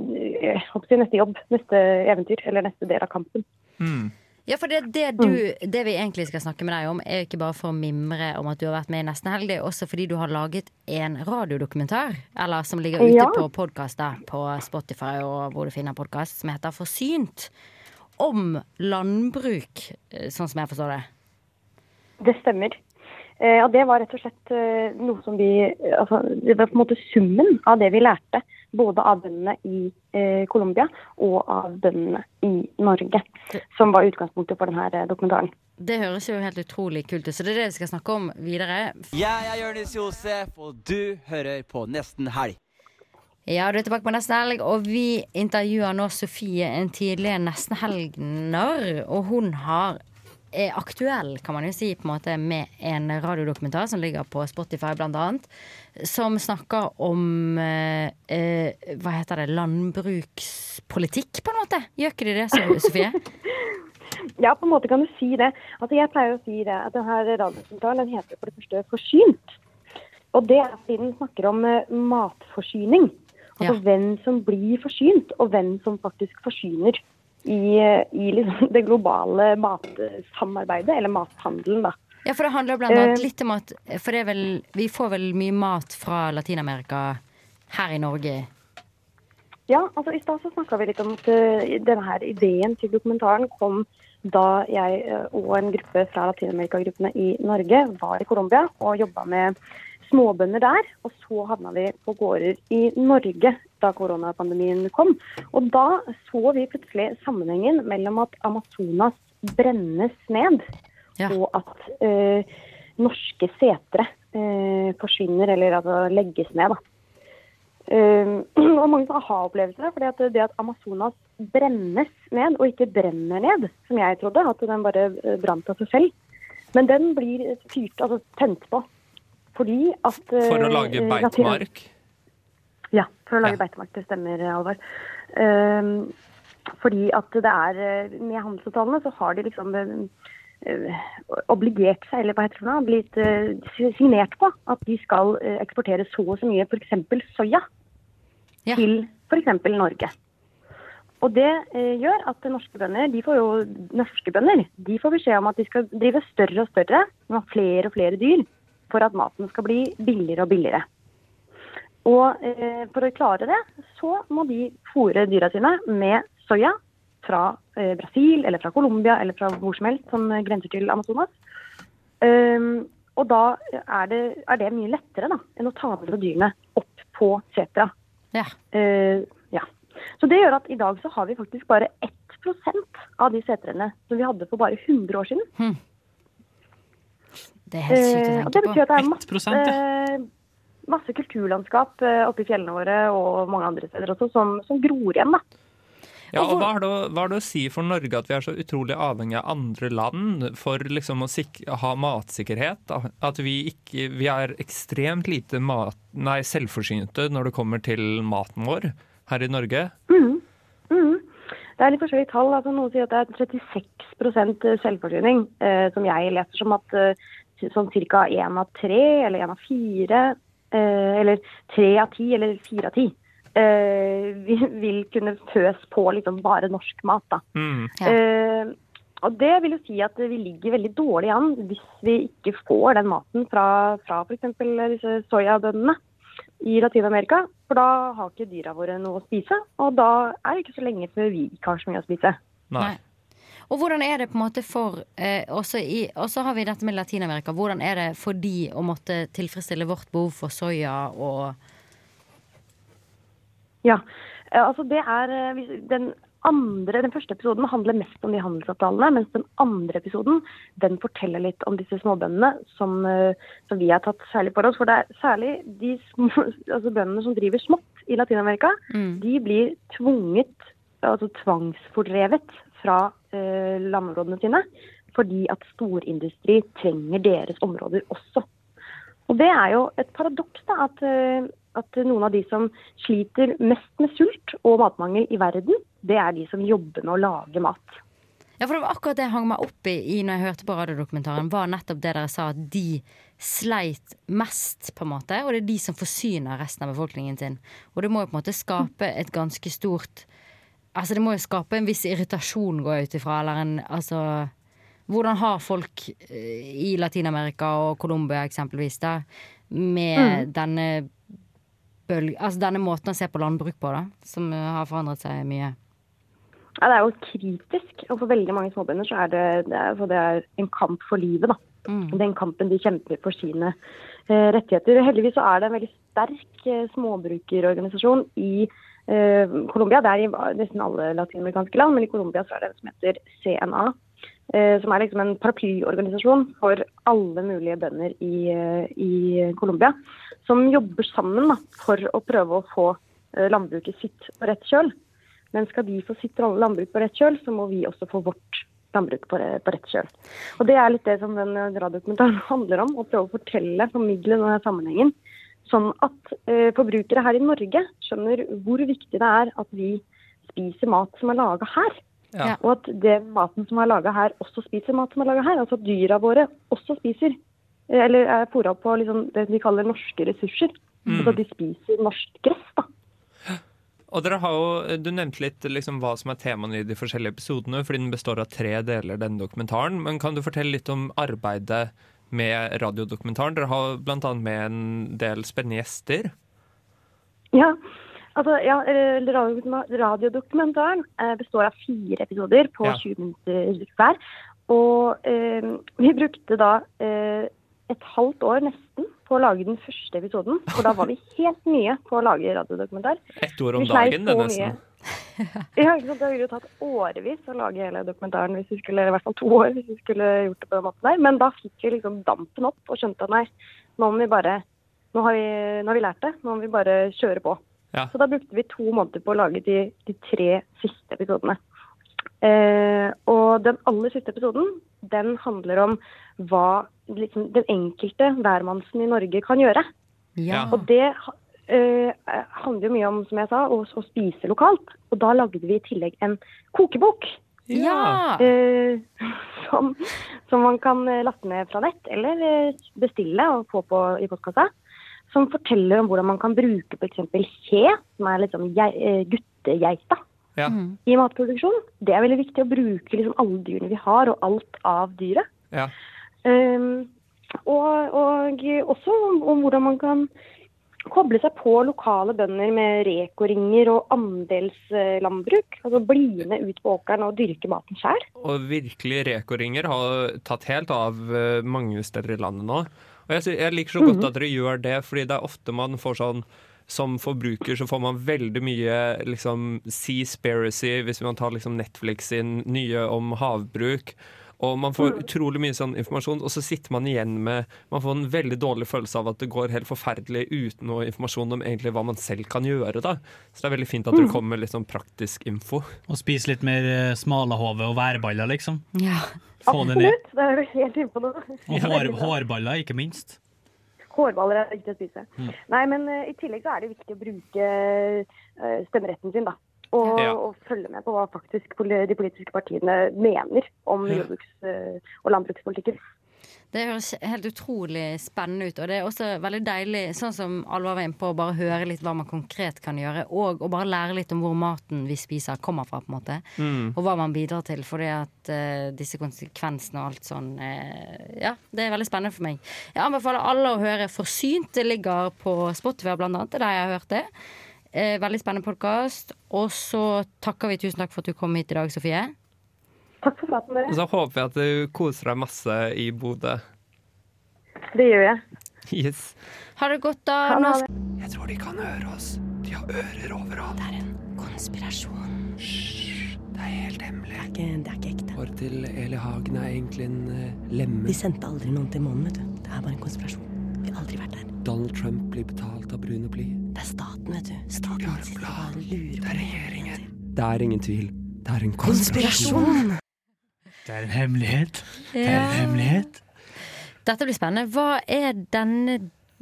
jeg holdt på å si neste jobb. Neste eventyr, eller neste del av kampen.
Ja, for det, det, du, det vi egentlig skal snakke med deg om, er jo ikke bare for å mimre om at du har vært med i Nesten helg, det er også fordi du har laget en radiodokumentar, eller som ligger ute
Ja.
på podkast, da, på Spotify og hvor du finner podkast, som heter Forsynt. Om landbruk, eh, sånn som jeg forstår det.
Det stemmer. Eh, og det var rett og slett eh, noe som vi eh, altså, Det var på en måte summen av det vi lærte. Både av bøndene i eh, Colombia og av bøndene i Norge. Som var utgangspunktet for denne dokumentaren.
Det høres jo helt utrolig kult ut, så det er det vi skal snakke om videre.
Jeg er Jonis Josef, og du hører på Nesten Helg.
Ja, du er tilbake på Nesten Helg, og vi intervjuer nå Sofie, en tidligere Nesten Helgner. Og hun har, er aktuell, kan man jo si, på en måte med en radiodokumentar som ligger på Spotify, blant annet. Som snakker om eh, eh, Hva heter det? Landbrukspolitikk, på en måte. Gjør ikke de det, So- Sofie?
Ja, på en måte kan du si det. Altså, jeg pleier å si det, at denne radiodokumentaren den heter for det første Forsynt. Og det er fordi den snakker om eh, matforsyning. Altså hvem som blir forsynt, og hvem som faktisk forsyner i, eh, i liksom *laughs* det globale matsamarbeidet, eller mathandelen, da.
Ja, for det handler blant annet
Eh.
litt om at For det er vel, vi får vel mye mat fra Latin-Amerika her i Norge.
Ja, altså I stad så snakka vi litt om at eh, denne her ideen til dokumentaren kom da jeg eh, og en gruppe fra Latin-Amerika-gruppene i Norge var i Colombia og jobba med småbønder der. Og så havna vi på gårder i Norge da koronapandemien kom. Og da så vi plutselig sammenhengen mellom at Amazonas brennes ned, og at eh, norske setre eh, forsvinner, eller altså legges ned. da. Um, *clears throat* og mange sånne aha-opplevelser. fordi at Det at Amazonas brennes ned, og ikke brenner ned, som jeg trodde, at den bare eh, brant av seg selv, men den blir fyrt, altså tent på. Fordi at
For å
eh,
lage
eh,
beitemark.
ja, for å lage beitemark. Det stemmer, Alvar. Ehm, fordi at det er eh, Med handelsavtalene så har de liksom eh, eh, obligert seg, eller hva heter det, for noe, blitt eh, si- signert på at de skal eh, eksportere så og så mye f.eks. soya til f.eks. Norge. Og det eh, gjør at norske bønder, de får jo norske bønder, de får beskjed om at de skal drive større og større, med flere og flere dyr, for at maten skal bli billigere og billigere. Og eh, for å klare det, så må de fôre dyra sine med soya fra eh, Brasil eller fra Colombia eller fra hvor som helst som grenser til Amazonas. Ehm, og da er det, er det mye lettere da, enn å ta med seg dyrene opp på setra. Eh,
Ja.
ja. Så det gjør at i dag så har vi faktisk bare 1 av de setrene som vi hadde for bare 100 år siden.
Det er helt sykt å
Eh,
tenke
og det betyr at det er
på.
masse, eh, masse kulturlandskap eh, oppe i fjellene våre og mange andre steder også som, som gror igjen. da.
Ja, og hva har, det, å- hva har det å si for Norge at vi er så utrolig avhengig av andre land for liksom å sik ha matsikkerhet? Da? At vi, ikke, vi er ekstremt lite mat, nei, selvforsynte når det kommer til maten vår her i Norge.
Mhm. Mhm. Det er litt forskjellige tall. Altså, noen sier at det er 36 selvforsyning, eh, som jeg leser som at eh, som ca. én av tre eller én av fire, eh, eller tre av ti eller fire av ti, eh, vi- vil kunne føs på liksom bare norsk mat. da.
Mm,
Eh, og det vil jo si at vi ligger veldig dårlig an hvis vi ikke får den maten fra, fra f.eks. disse soyabøndene i Latin-Amerika. For da har ikke dyra våre noe å spise, og da er det ikke så lenge før vi ikke har så mye å spise.
Nei.
Og hvordan er det på en måte for eh, også i, Og så har vi dette med Latin-Amerika. Hvordan er det for de å måtte tilfredsstille vårt behov for soya og
Ja. Eh, Altså det er, eh, hvis- den, andre, den første episoden handler mest om de handelsavtalene, mens den andre episoden den forteller litt om disse småbøndene som, eh, som vi har tatt særlig for oss. For det er særlig de små, *laughs* altså bøndene som driver smått i Latin-Amerika, de blir tvunget, altså tvangsfordrevet fra eh, landområdene sine, fordi at storindustri trenger deres områder også. Og det er jo et paradoks da, at, eh, at noen av de som sliter mest med sult og matmangel i verden, det er de som jobber med å lage mat.
Ja, for det var akkurat det jeg hang meg opp i, i når jeg hørte på radiodokumentaren, var nettopp det dere sa, at de sleit mest, på en måte, og det er de som forsyner resten av befolkningen sin. Og det må jo på en måte skape et ganske stort Altså, det må jo skape en viss irritasjon, går jeg ut ifra, eller en Altså Hvordan har folk eh, i Latin-Amerika og Colombia eksempelvis, da, med
Mm.
denne bølg... Altså denne måten å se på landbruk på, da, som eh, har forandret seg mye?
Ja, det er jo kritisk, og for veldig mange småbønder så er det, det, er, for det er en kamp for livet. da. Den kampen de kjemper for sine eh, rettigheter. Heldigvis så er det en veldig sterk eh, småbrukerorganisasjon i eh, Colombia. Det er i nesten alle latinamerikanske land, men i Colombia så er det en som heter CNA. Eh, som er liksom en paraplyorganisasjon for alle mulige bønder i, eh, i Colombia. Som jobber sammen da, for å prøve å få eh, landbruket sitt på rett kjøl. Men skal de få sitt landbruk på rett kjøl, så må vi også få vårt landbruk på, eh, på rett kjøl. Og Det er litt det som den eh, radiodokumentaren *laughs* handler om. Å prøve å fortelle, formidle denne sammenhengen. Sånn at eh, forbrukere her i Norge skjønner hvor viktig det er at vi spiser mat som er laga her.
Ja.
Og at det maten som er laga her, også spiser mat som er laga her. Altså at dyra våre også spiser, eh, eller er fôra på liksom det de kaller norske ressurser. Altså at de spiser norsk gress.
Og dere har jo, Du nevnte litt liksom hva som er temaene i de forskjellige episodene, fordi den består av tre deler, denne dokumentaren. Men kan du fortelle litt om arbeidet med radiodokumentaren? Dere har bl.a. med en del spennende gjester.
Ja, altså ja, eh, radio- Radiodokumentaren eh, består av fire episoder på
Ja.
20 minutter hver. Og eh, vi brukte da eh, et halvt år nesten på å lage den første episoden. For da var vi helt nye på å lage radiodokumentar.
Ett ord om
Vi sleit
dagen, det
så
nesten.
*laughs* Ja, ikke sant? Det ville jo tatt årevis å lage hele dokumentaren, hvis vi skulle, i hvert fall to år, hvis vi skulle gjort det på den måten der. Men da fikk vi liksom dampen opp og skjønte at nei, nå må vi bare nå har, vi, nå har vi lært det, nå må vi bare kjøre på.
Ja.
Så da brukte vi to måneder på å lage de, de tre siste episodene. Eh, og den aller siste episoden, den handler om hva liksom, den enkelte hvermannsen i Norge kan gjøre.
Ja.
Og det ha- eh, handler jo mye om, som jeg sa, å, å spise lokalt. Og da lagde vi i tillegg en kokebok.
Ja.
Eh, som, som man kan eh, laste ned fra nett, eller eh, bestille og få på i postkassa. Som forteller om hvordan man kan bruke f.eks. he, som er litt sånn gei- eh, guttegeita
Ja.
i matproduksjon. Det er veldig viktig å bruke liksom alle dyrene vi har, og alt av dyret.
Ja.
Um, og, og også om, om hvordan man kan koble seg på lokale bønder med rekoringer og andelslandbruk. Altså bli med ut på åkeren og dyrke maten sjøl.
Og virkelig rekoringer har tatt helt av eh, mange steder i landet nå. Og jeg, sy- jeg liker så godt
Mhm.
at dere gjør det, fordi det er ofte man får sånn som forbruker så får man veldig mye liksom, seaspiracy hvis man tar liksom, Netflix sin nye om havbruk. Og man får utrolig mye sånn informasjon, og så sitter man igjen med Man får en veldig dårlig følelse av at det går helt forferdelig uten noe informasjon om egentlig hva man selv kan gjøre. da. Så det er veldig fint at dere
Mhm.
kommer med litt sånn praktisk info.
Og spise litt mer eh, smalahove og værballer, liksom.
Ja.
Få det ned.
Det er du helt inne på nå.
Og hår, hårballer, ikke minst.
Hårballer er viktig å spise.
Mm.
Nei, men eh, i tillegg så er det viktig å bruke eh, stemmeretten sin, da. Og,
Ja.
og følge med på hva faktisk poli- de politiske partiene mener om
Ja.
jordbruks- eh, og landbrukspolitikken.
Det høres helt utrolig spennende ut, og det er også veldig deilig, sånn som Alvar var inne på, å bare høre litt hva man konkret kan gjøre, og å bare lære litt om hvor maten vi spiser kommer fra, på en måte.
Mm.
Og hva man bidrar til, fordi at eh, disse konsekvensene og alt sånn eh, Ja, det er veldig spennende for meg. Jeg anbefaler alle å høre Forsynt. Det ligger på Spotify, blant annet. Det er der jeg har hørt det. Eh, veldig spennende podkast. Og så takker vi tusen takk for at du kom hit i dag, Sofie.
Takk for praten, dere.
Så håper jeg at du koser deg masse i Bodø.
Det gjør jeg.
Yes.
Har det godt, da? Nå skal
Jeg tror de kan høre oss. De har ører overalt. Det er en konspirasjon. Hysj. Det er helt hemmelig. Det er ikke, ekte. Håret til Eli Hagen er egentlig en eh, lemme.
De sendte aldri noen til månen, vet du. Det er bare en konspirasjon. Vi har aldri vært der.
Donald Trump blir betalt av brune bly.
Det er staten, vet du. Staten sitter og bare lurer på regjeringen.
Det er ingen tvil. Det er en
Konspirasjon!
Det er en hemmelighet. Det er
Ja.
en hemmelighet.
Dette blir spennende. Hva er denne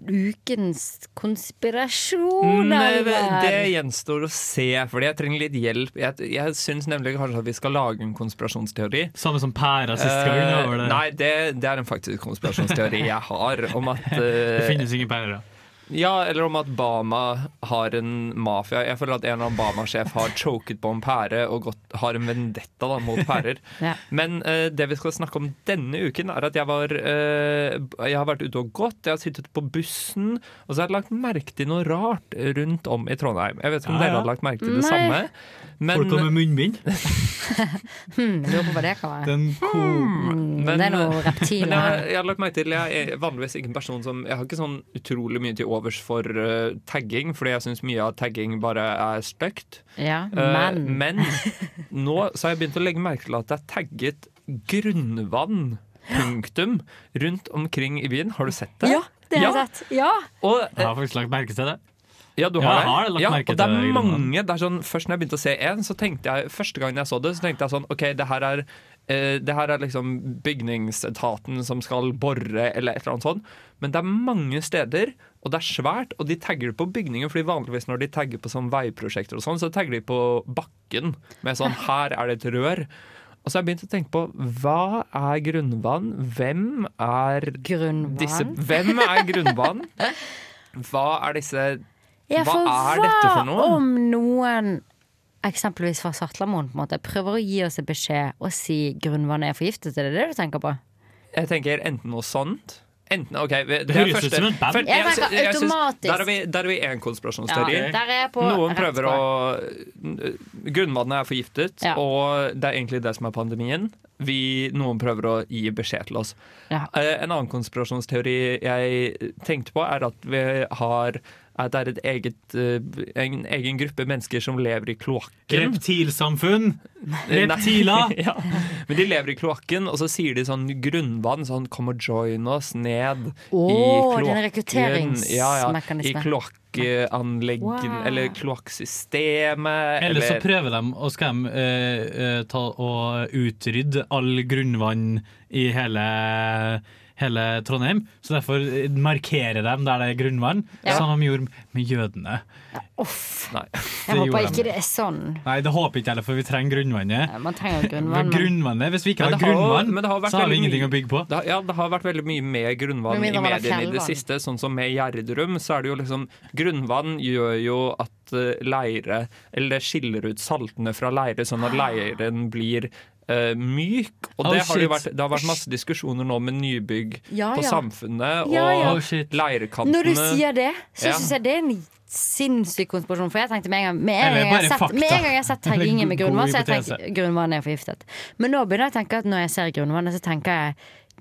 ukens konspirasjon?
Men eh,
Alvar?
det gjenstår å se, fordi jeg trenger litt hjelp. Jeg, jeg syns nemlig kanskje at vi skal lage en konspirasjonsteori.
Samme som pæra sist gang.
Eh,
over det.
Nei, det, det er en faktisk konspirasjonsteori jeg har om at eh,
*laughs* Det finnes ingen pærer.
Ja, eller om at Bama har en mafia. Jeg føler at en av Bama-sjef har choket på en pære og gått, har en vendetta da, mot pærer.
*laughs* Ja.
Men eh, det vi skal snakke om denne uken, er at jeg, var, eh, jeg har vært ute og gått. Jeg har sittet på bussen, og så har jeg lagt merke til noe rart rundt om i Trondheim. Jeg vet ikke om
Ja, ja.
dere har lagt merke til det
Nei.
samme. Men,
Folk går med munnbind.
Hmm, jeg lurer på hva det kan være. Hmm,
Men- eh,
det er noe
Men
reptiler
jeg,
her.
jeg har lagt merke til Jeg er vanligvis ikke en person som Jeg har ikke sånn utrolig mye til overs for eh, tagging, fordi jeg syns mye av tagging bare er stygt.
Ja,
Eh,
men
men nå så har jeg begynt å legge merke til at det er tagget 'grunnvann'. Punktum rundt omkring i byen. Har du sett det? Ja,
Det har jeg sett. Ja!
Og, eh,
Jeg har faktisk lagt merke til det.
ja, du
Ja,
har
jeg har lagt
ja,
merke
og det
til
er
det,
mange det er sånn, Først når jeg begynte å se en, så tenkte jeg Første gangen jeg så det, så tenkte jeg sånn Ok, det her er eh, det her er liksom bygningsetaten som skal bore, eller et eller annet sånt. Men det er mange steder, og det er svært, og de tagger det på bygninger. fordi vanligvis når de tagger på sånn veiprosjekter, og sånn, så tagger de på bakken med sånn Her er det et rør. Og så har jeg begynt å tenke på hva er grunnvann? Hvem er
grunnvann?
Disse, hvem er grunnvann? Hva er disse
Ja,
Hva er dette for noe?
Hva om noen, eksempelvis fra Svartlamoen, på en måte, prøver å gi oss en beskjed og si grunnvannet er forgiftet? Er det det du tenker på?
Jeg tenker enten noe sånt Enten, ok, det,
Det
er
høres ut
første-
som en band.
for-
Jeg
sy-
tenker
syns-
automatisk.
Der er vi- der er vi én konspirasjonsteori.
Ja, der er jeg på
Noen
rett
prøver
spor.
å Grunnvannet er forgiftet,
Ja.
og det er egentlig det som er pandemien. Vi, noen prøver å gi beskjed til oss.
Ja.
Eh, En annen konspirasjonsteori jeg tenkte på, er at vi har at det er et eget, eh, en egen gruppe mennesker som lever i kloakken.
Reptilsamfunn. *laughs* Reptiler.
Eh, Nei. *laughs* ja. Men de lever i kloakken, og så sier de sånn grunnvann, sånn come and join us ned
Åh,
i
det er en
kloakken.
rekrutteringsmekanisme.
I kloakkanleggen,
Wow.
eller kloakksystemet.
Eller så prøver de å skal de, eh, eh, ta og utrydde all grunnvann i hele Hele Trondheim, så derfor eh, markerer de der det er grunnvann,
Ja.
som de gjorde med jødene.
Nei.
Jeg håper ikke det er sånn.
Nei, det håper jeg ikke heller, for vi trenger grunnvannet.
Man trenger grunnvann. men-
grunnvannet. Hvis vi ikke
Men
har
det har-
grunnvann,
men det har vært
så har vi
veldig
ingenting
mye-
å bygge på.
Det, har- ja, det har vært veldig mye med grunnvann
Med
i
mindre man har
mediene i det
fjellvann.
siste. Sånn som med Gjerdrum, så er det jo liksom Grunnvann gjør jo at eh, leire Eller det skiller ut saltene fra leire, sånn at leiren blir eh, myk. Og
Oh,
det, har det, jo
shit.
vært, det har vært masse diskusjoner nå med nybygg
Ja,
på
ja.
Samfunnet og
Ja, ja. Oh,
leirekantene.
Når du sier det, så
Ja.
syns jeg det er en sinnssyk konspirasjon. For jeg tenkte med en gang Med en
Eller
gang jeg har
bare
sett, med
fakta.
en gang jeg har sett
Eller
taggingen med
god
grunnvann, så har jeg
hypotese.
tenkt grunnvannet er forgiftet. Men nå begynner jeg å tenke at når jeg ser grunnvannet, så tenker jeg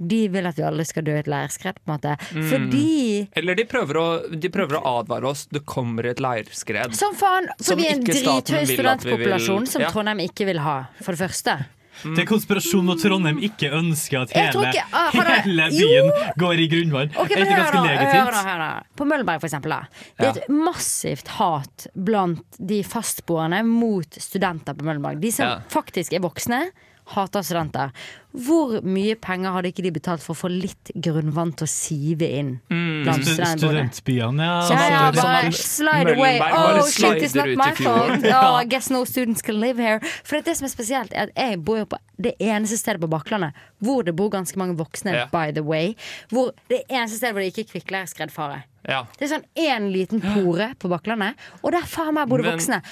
de vil at vi alle skal dø i et leirskred, på en måte.
Mm.
Fordi
Eller de prøver, å, de prøver å advare oss. Det kommer et leirskred.
Som faen!
Som
For vi er en
ikke staten
drithøy
vil at vi vil-
studentpopulasjon som
Ja.
Trondheim ikke vil ha, for det første.
Det er konspirasjon når Trondheim ikke ønsker at
Jeg tror
hele,
ikke- ah, har det-
hele byen går i grunnvann.
Ok,
er
men
ikke
hør
ganske
nå, hør nå,
legitimt?
hør nå. På Møllenberg, for eksempel. Da. Det er et massivt hat blant de fastboende mot studenter på Møllenberg. De som
Ja.
faktisk er voksne, hater studenter. Hvor mye penger hadde ikke de betalt for å få litt grunnvann til å sive inn
Mm.
blant
Stu-
studentboende?
Studentbyene, ja.
Ja, ja, bare
Sånn at-
slide away.
Møllenberg bare
Oh, shit, it's
slider
not
ut i
my
fjorden. *laughs*
fault. Oh, I guess no students can live here. For det som er spesielt, er at jeg bor jo på det eneste stedet på Bakklandet hvor det bor ganske mange voksne,
Ja.
by the way. Hvor det eneste stedet hvor det ikke er kvikkleireskredfare.
Ja.
Det er sånn én liten pore på Bakklandet, og der faen meg bor det
Men-
voksne.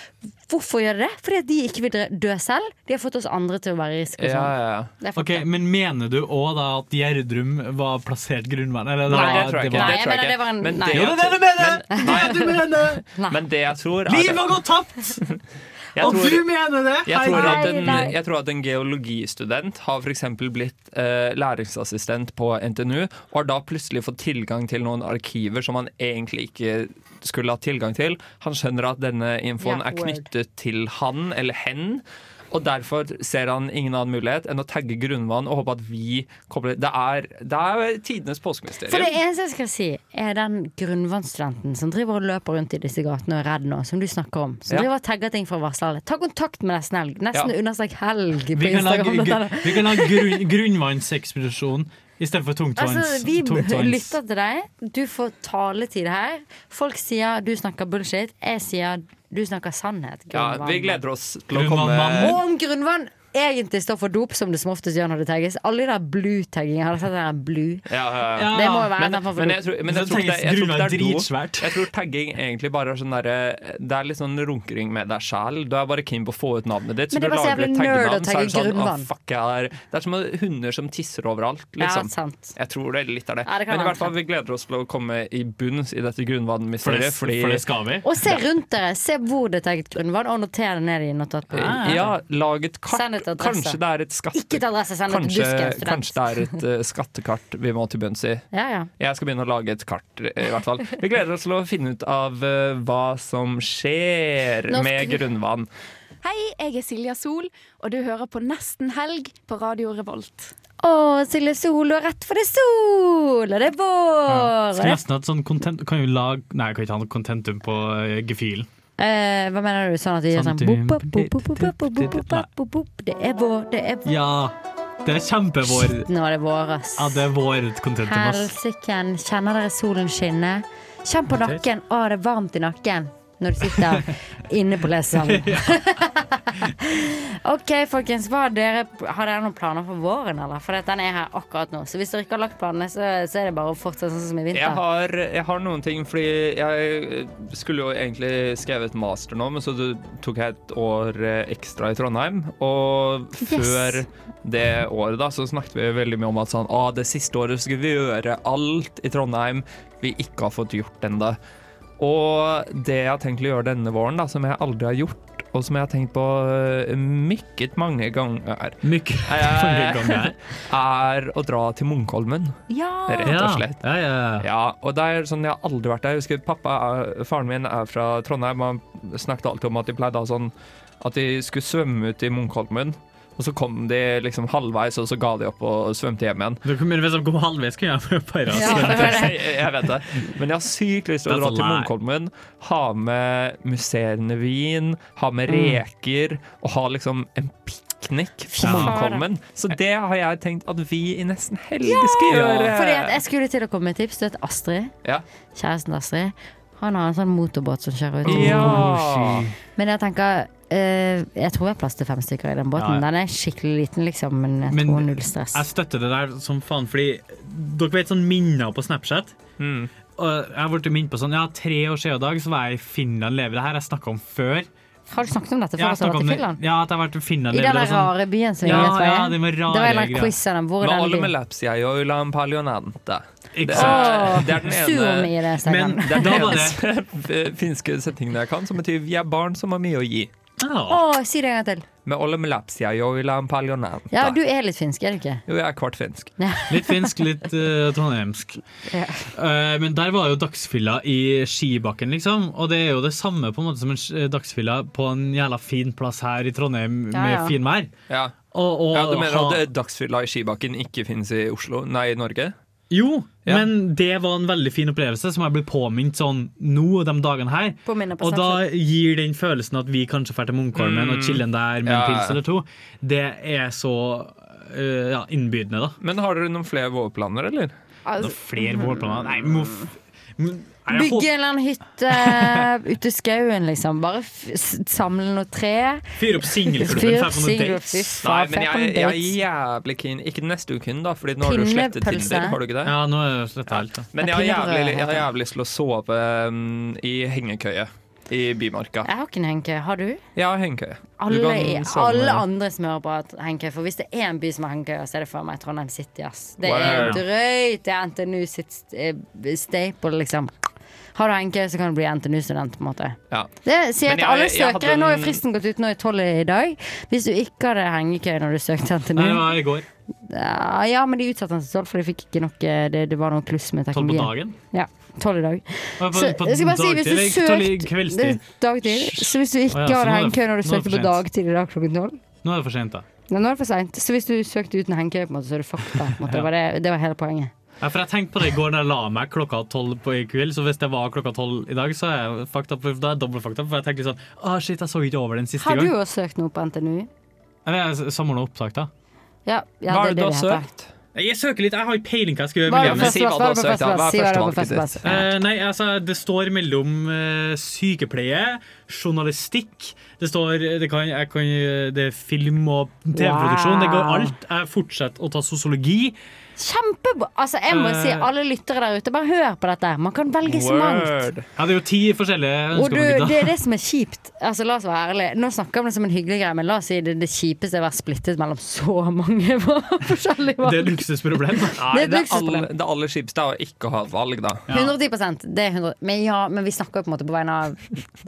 Hvorfor gjør de det? Fordi at de ikke vil dø- dø selv. De har fått oss andre til å være i risiko. sånn. Det er fucked
Ok, Men mener du òg da at Gjerdrum var plassert grunnvann? Eller,
Nei,
var-
det tror jeg ikke.
var-
Det tror jeg ikke. Men det
Jo,
jeg
det er det du mener!
Men-
Det er det du mener!
Men det jeg tror er
Livet har gått tapt!
*laughs* Jeg
Og
tror-
du mener det?
Jeg tror at
Herregud.
en, jeg tror at en geologistudent har for eksempel blitt eh, læringsassistent på NTNU, og har da plutselig fått tilgang til noen arkiver som han egentlig ikke skulle hatt tilgang til. Han skjønner at denne infoen
Ja,
er
word.
knyttet til han eller hen. Og derfor ser han ingen annen mulighet enn å tagge grunnvann og håpe at vi kobler Det er, det er tidenes
For det
påskemysterium.
eneste jeg skal si, er den grunnvannsstudenten som driver og løper rundt i disse gatene og er redd nå, som du snakker om. Som
Ja.
driver og tagger ting for å varsle alle. Ta kontakt med Nesten Helg. Nesten
Ja.
understrek helg på
Vi kan ha,
Instagram.
gru-
Dette er-
gru- vi kan ha grunn, grunnvannsekspedisjon istedenfor
*laughs*
tungtvanns.
Altså, vi b-
tungtvanns.
lytter til deg. Du får taletid her. Folk sier du snakker bullshit. Jeg sier du snakker sannhet.
Ja,
Grunnvann.
vi gleder oss til å komme
Og om grunnvann egentlig står for dop, som det som oftest gjør når det tagges. Alle de der blue-taggingene. Har dere sett den der blue?
Ja, ja, ja.
Det må jo være
men,
en form for
men
dop.
jeg tror, men jeg
Så
tror ikke det, jeg tror ikke
grunnlag
det er
dritsvært.
do. Jeg tror tagging egentlig bare er sånn derre Det er litt sånn runkering med deg sjæl. Du er bare keen på å få ut navnet ditt.
Men det er
du
bare så
lager et
jævlig nerd å
taggenavn, så er det
tagge
sånn,
grunnvann.
«Å, fuck, jeg er Det er som hunder som tisser overalt,
Ja,
liksom.
sant.
Jeg tror det litt er det.
Ja, det kan
men i
være
hvert fall, vi gleder oss til å komme i bunns i dette grunnvannmysteriet,
For det- for det skal vi.
Og se rundt dere. Se hvor det er tagget grunnvann, og noter det ned i notatbordet.
Ja, lag et kart.
Ah, Send et adresse.
Kanskje det er et skatt...
Ikke et adresse, send et
Kanskje,
dusk.
kanskje det er et eh, skattekart vi må til bunns i.
Ja, ja.
Jeg skal begynne å lage et kart, eh, i hvert fall. Vi gleder oss til å finne ut av eh, hva som skjer
Nå skal
med
vi-
grunnvann.
Hei, jeg er Silja Sol, og du hører på Nesten helg på Radio Revolt.
Å, Silje Sol, du har rett, for det er sol, og det er vår.
Skulle nesten hatt sånn content Kan jo lage Nei, jeg kan ikke ha noe contentum på eh, gefühlen.
Eh, hva mener du? Sånn at de gjør sånn
Sånn
bop, bop, bop, bop, bop, bop, bop, bop, bop, bop. Det er vår, det er vår.
Ja, det er kjempevår.
Nå er det vår, ass.
Ja, det er vår contentum, ass.
Helsiken. Kjenner dere solen skinne? Kjenn på nakken. Å, det er varmt i nakken når du
*laughs*
sitter inne på lesesalen. *laughs* OK, folkens. Hva har dere, har dere noen planer for våren, eller? For den er her akkurat nå. Så hvis dere ikke har lagt planene, så, så er det bare å fortsette sånn som i
Jeg
vinter.
har, jeg har noen ting, fordi jeg skulle jo egentlig skrevet master nå, men så tok jeg et år eh, ekstra i Trondheim. Og før det året da, så snakket vi veldig mye om at sånn, ah, det siste året skulle vi gjøre alt i Trondheim vi ikke har fått gjort ennå. Og det jeg har tenkt å gjøre denne våren, da, som jeg aldri har gjort, og som jeg har tenkt på eh, mykket mange ganger,
mange ganger.
er å dra til Munkholmen.
Ja!
*laughs* Rett og slett. Ja, og det er sånn, jeg har aldri vært der. Jeg husker pappa, er- Faren min er fra Trondheim, og han snakket alltid om at de pleide å ha sånn At de skulle svømme ut i Munkholmen. Og så kom de liksom halvveis, og så ga de opp og svømte hjem igjen.
Dere kunne liksom komme halvveis, kunne jeg vært bare
*laughs* jeg, jeg vet det. Men jeg har sykt lyst til
Det
å
er sånn
dra
så
til
lei.
Munkholmen. Ha med musserende vin, ha med
Mm.
reker, og ha liksom en piknik på Munkholmen. Så det har jeg tenkt at vi i nesten helg skal gjøre.
Fordi at jeg skulle til å komme med et tips. Du vet Astrid?
Ja.
Kjæresten til Astrid. Han har en sånn motorbåt som kjører ut. i
Ja.
Munkholmen. Men jeg tenker eh, Jeg tror jeg har plass til fem stykker i den båten.
Ja, ja.
Den er skikkelig liten, liksom, men jeg
Men-
tror null stress.
Jeg støtter det der som faen, fordi dere vet sånn minner på Snapchat.
Mm.
Og jeg har blitt minnet på sånn, ja, tre år siden i dag så var jeg i Finland lever det her, jeg snakket om før.
Har du snakket om dette
Ja,
før?
jeg
at du har
snakket
vært
om
i
det-
Finland?
Ja, at jeg har vært i Finland
I
lever
den
det, og sånn-
rare byen som vi
ja,
vet hva
ja,
er.
det var rare
Det var en av
greier.
quizene, hvor er
Men
den
alle
byen?
med lapsia jo la en *laughs* paljonante.
Ikke
sant? Suomi i det, Steinar.
Men det er
Da
den
var
eneste finske setningen jeg kan, som betyr 'vi er barn som har mye å gi'.
Å, si det en gang til.
Med alle med lapsia jo la en paljonante.
Ja, du er litt finsk, er du ikke?
Jo, jeg er kvart finsk.
Litt finsk, litt eh, trondheimsk.
Ja.
Eh, men der var jo dagsfylla i skibakken, liksom. Og det er jo det samme på en måte som en sk- dagsfylla på en jævla fin plass her i Trondheim
Ja,
med
ja.
finvær.
Ja. ja, du mener at eh, dagsfylla i skibakken ikke finnes i Oslo? Nei, i Norge?
Jo, men det var en veldig fin opplevelse som jeg blir påminnet sånn nå de dagene her.
Påminner på
og da gir den følelsen at vi kanskje drar til Munkholmen
Mm.
og chillen der med
Ja.
en pils eller to. Det er så eh, ja, innbydende, da.
Men har dere noen flere vårplaner, eller?
Altså-
Noen flere vårplaner? Nei, må f... Nei, jeg
Bygge en eller annen hytte *laughs* ute i skauen, liksom. Bare f s- samle noe tre.
Fyr opp
Fyr
singelklubben.
opp
Fær på noen
singelklubben,
dates.
fy
Nei,
faen,
men
for
jeg,
jeg
jeg
kan
er jævlig keen. Ikke neste uken, da, Fordi nå har du slettet
Pinnepølse.
Tinder. Har du ikke det?
Ja, nå er det slettet helt. da.
Men
Det er
jeg har
pinnebrød,
jævlig, jeg
heter
har
det.
jævlig lyst til å sove mm, i hengekøye i Bymarka.
Jeg har ikke en Henke. Har du?
Jeg har hengekøye. Du
Alle,
kan
i-
sovne-
alle andre som hører på, har Henke. For hvis det er en by som har Henke, så er det for meg Trondheim City. Ass. Det er
Wow.
drøyt. Det er NTNU sitt eh, staple, liksom. Har du Henke, så kan du bli NTNU-student, på en måte.
Ja.
Det sier jeg
Men
til alle
jeg- jeg hadde
søkere. Nå er
en-
fristen gått ut nå i tolv i dag. Hvis du ikke hadde hengekøye når du søkte NTNU
Nei, det var i går.
Ja, ja, men de utsatte den til tolv, for de fikk ikke nok eh, Det, det var noe kluss med
Tolv på
teknologien.
dagen?
Ja. Tolv i dag.
Ja, på-
Så
på
jeg skal bare si, hvis du
dagtid, ikke tolv i
søkte Det
kveldstid.
er dagtid. Så hvis du
Å ja,
ikke hadde
så nå er det-
hengekøye når
nå er
du
det for
søkte på
sent.
dagtid i dag klokken tolv
Nå er det for sent, da.
Nei, nå er det for seint. Så hvis du søkte uten hengekøye, på en måte, så er du fucked. da, på en måte. *laughs*
Ja.
Det, var det, det var hele poenget.
Ja, for jeg tenkte på det i går da jeg la meg klokka tolv på i kveld, så hvis det var klokka tolv i dag, så er jeg fucked up. for Da er jeg dobbelt fucked up, for jeg tenkte litt sånn Å, shit, jeg så ikke over den siste
Har du
gang.
også søkt noe på NTNU?
Eller jeg samordna opptak, da.
Ja, ja
Hva er
det er
det du
det det
har
heter.
Jeg søker litt, jeg har ikke peiling hva jeg skal gjøre.
Hva er
med
det
livet.
første Si hva du plass, har hva er det søkt, da. Hva er første plass, første plass, første plass?
Eh, nei, altså, det står mellom eh, sykepleie, journalistikk, det står det, kan, jeg kan, det er film og TV-produksjon, det går
Wow.
alt. Jeg fortsetter å ta sosiologi.
Kjempebra! Altså, jeg må si,
Eh.
alle lyttere der ute, bare hør på dette. Man kan velge så mangt.
Ja, det er jo ti forskjellige jeg
Og du,
ønsker meg ut, da.
det er det som er kjipt. Altså, la oss være ærlige. Nå snakker vi om det som en hyggelig greie, men la oss si det, det kjipeste er å være splittet mellom så mange *laughs* forskjellige
*laughs* Det er
valg.
et
*laughs*
luksusproblem. da.
Det er
Nei,
et
det,
luksusproblem.
aller, det aller kjipeste er å ikke ha et valg, da.
110 det er 100 Men ja, men vi snakker jo på en måte på vegne av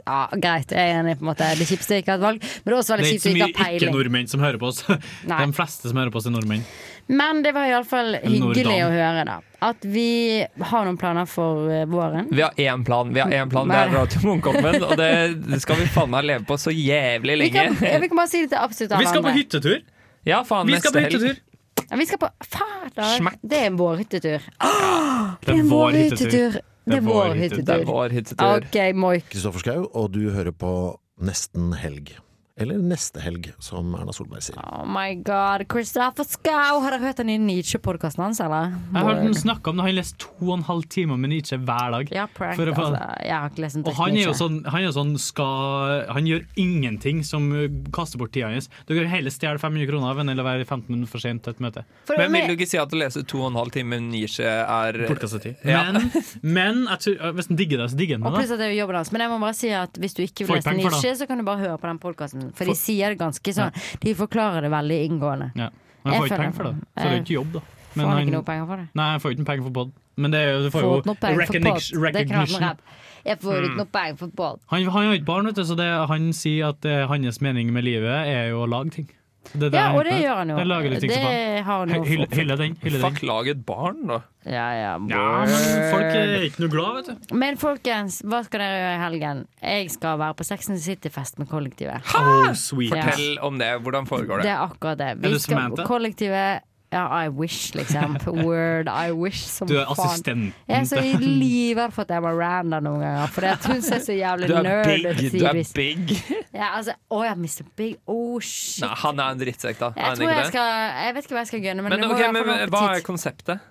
Ja, greit, jeg er enig. på en måte Det kjipeste er ikke å ha et valg, men det er også veldig
Det er
kjipt å ikke
ikke så
ha
mye
peiling.
ikke-nordmenn som hører på oss. *laughs* De fleste som hører på oss, er nordmenn.
Men det var iallfall hyggelig å høre, da. At vi har noen planer for eh, våren.
Vi har én plan, vi har én plan det
Nei.
er å dra til Munkholmen. Og det, det skal vi faen meg leve på så jævlig
Vi
lenge.
kan, ja, vi kan bare si det til absolutt alle
Vi skal på
andre.
hyttetur.
Ja, faen,
Vi skal på
neste helg.
hyttetur.
Ja, Vi skal på Fader! Det er vår hyttetur.
Det er vår hyttetur.
Det er vår
Det er
hyttetur.
vår hyttetur.
OK, Moik.
Kristoffer Schau, og du hører på Nesten helg. Eller Neste helg, som Erna Solberg sier.
Oh my god, Christopher Schau! Har dere hørt den nye Nietzsche-podkasten hans, eller?
Jeg har hørt ham snakke om det. Han leser to og en halv time med Nietzsche hver dag.
Ja, prank,
For å få-
altså. Jeg har ikke lest den
Og han er jo
Nietzsche.
sånn, han er jo sånn skal, Han gjør ingenting som uh, kaster bort tida hans. Du kan heller stjele 500 kroner av en eller være 15 minutter for sent til et møte.
Men vil du ikke si at å lese to og en halv time Nietzsche er
*laughs*
eh,
Bortkastet
Ja.
Men, men jeg tror, hvis den digger det, så digger den
Og
det.
pluss
da.
at det er jo jobben hans. Men jeg må bare si at hvis du ikke vil
Får jeg
lese
penger for det?
Nietzsche, så kan du bare høre på den podkasten. For de
Får-
sier det ganske sånn. De forklarer det veldig inngående.
Ja. Men jeg får ikke penger for det, så det er jo ikke jobb, da. Men
får han ikke noe penger for det?
Nei, jeg får ikke noe penger for pod. Men det er jo, du
Fått
får
noe
jo
penger for pod. Det
recognition.
kan være
recognition. Mm.
rett. Jeg får ikke noe penger for pod.
Han, han har jo ikke barn, vet du, så det, han sier at eh, hans mening med livet er jo å lage ting. Det er
Ja,
han
og det
heter.
gjør han jo.
Det lager litt ting som
Det
faen.
har han jo
Hy- hylle-
fått.
Hylle den. Hylle den.
Fuck, lag et barn, da.
Ja, ja,
Ja, men folk er ikke noe glad, vet du.
Men folkens, hva skal dere gjøre i helgen? Jeg skal være på Sex and the City-fest med kollektivet.
Oh,
sweet.
Fortell om det. Hvordan foregår
Det
det?
er akkurat det.
Er
Vi
du
skal
Samantha?
kollektivet Ja, I wish,
*laughs*
liksom. Word, I wish som
Du er
faen.
assistenten
Jeg er så i
til-
livet for at jeg var Randa noen ganger. For at hun ser så jævlig
*laughs* Du er
nerd
big,
ut
du er
tidvis.
big.
Ja, altså, å ja, Mr. Big. Oh, shit.
Nei, han er en drittsekk, da. Er
Jeg
han
tror
ikke
jeg
det?
skal Jeg vet ikke hva jeg skal gønne, men,
Men,
det må
ok,
i hvert
men
fall være
hva
appetitt.
er konseptet?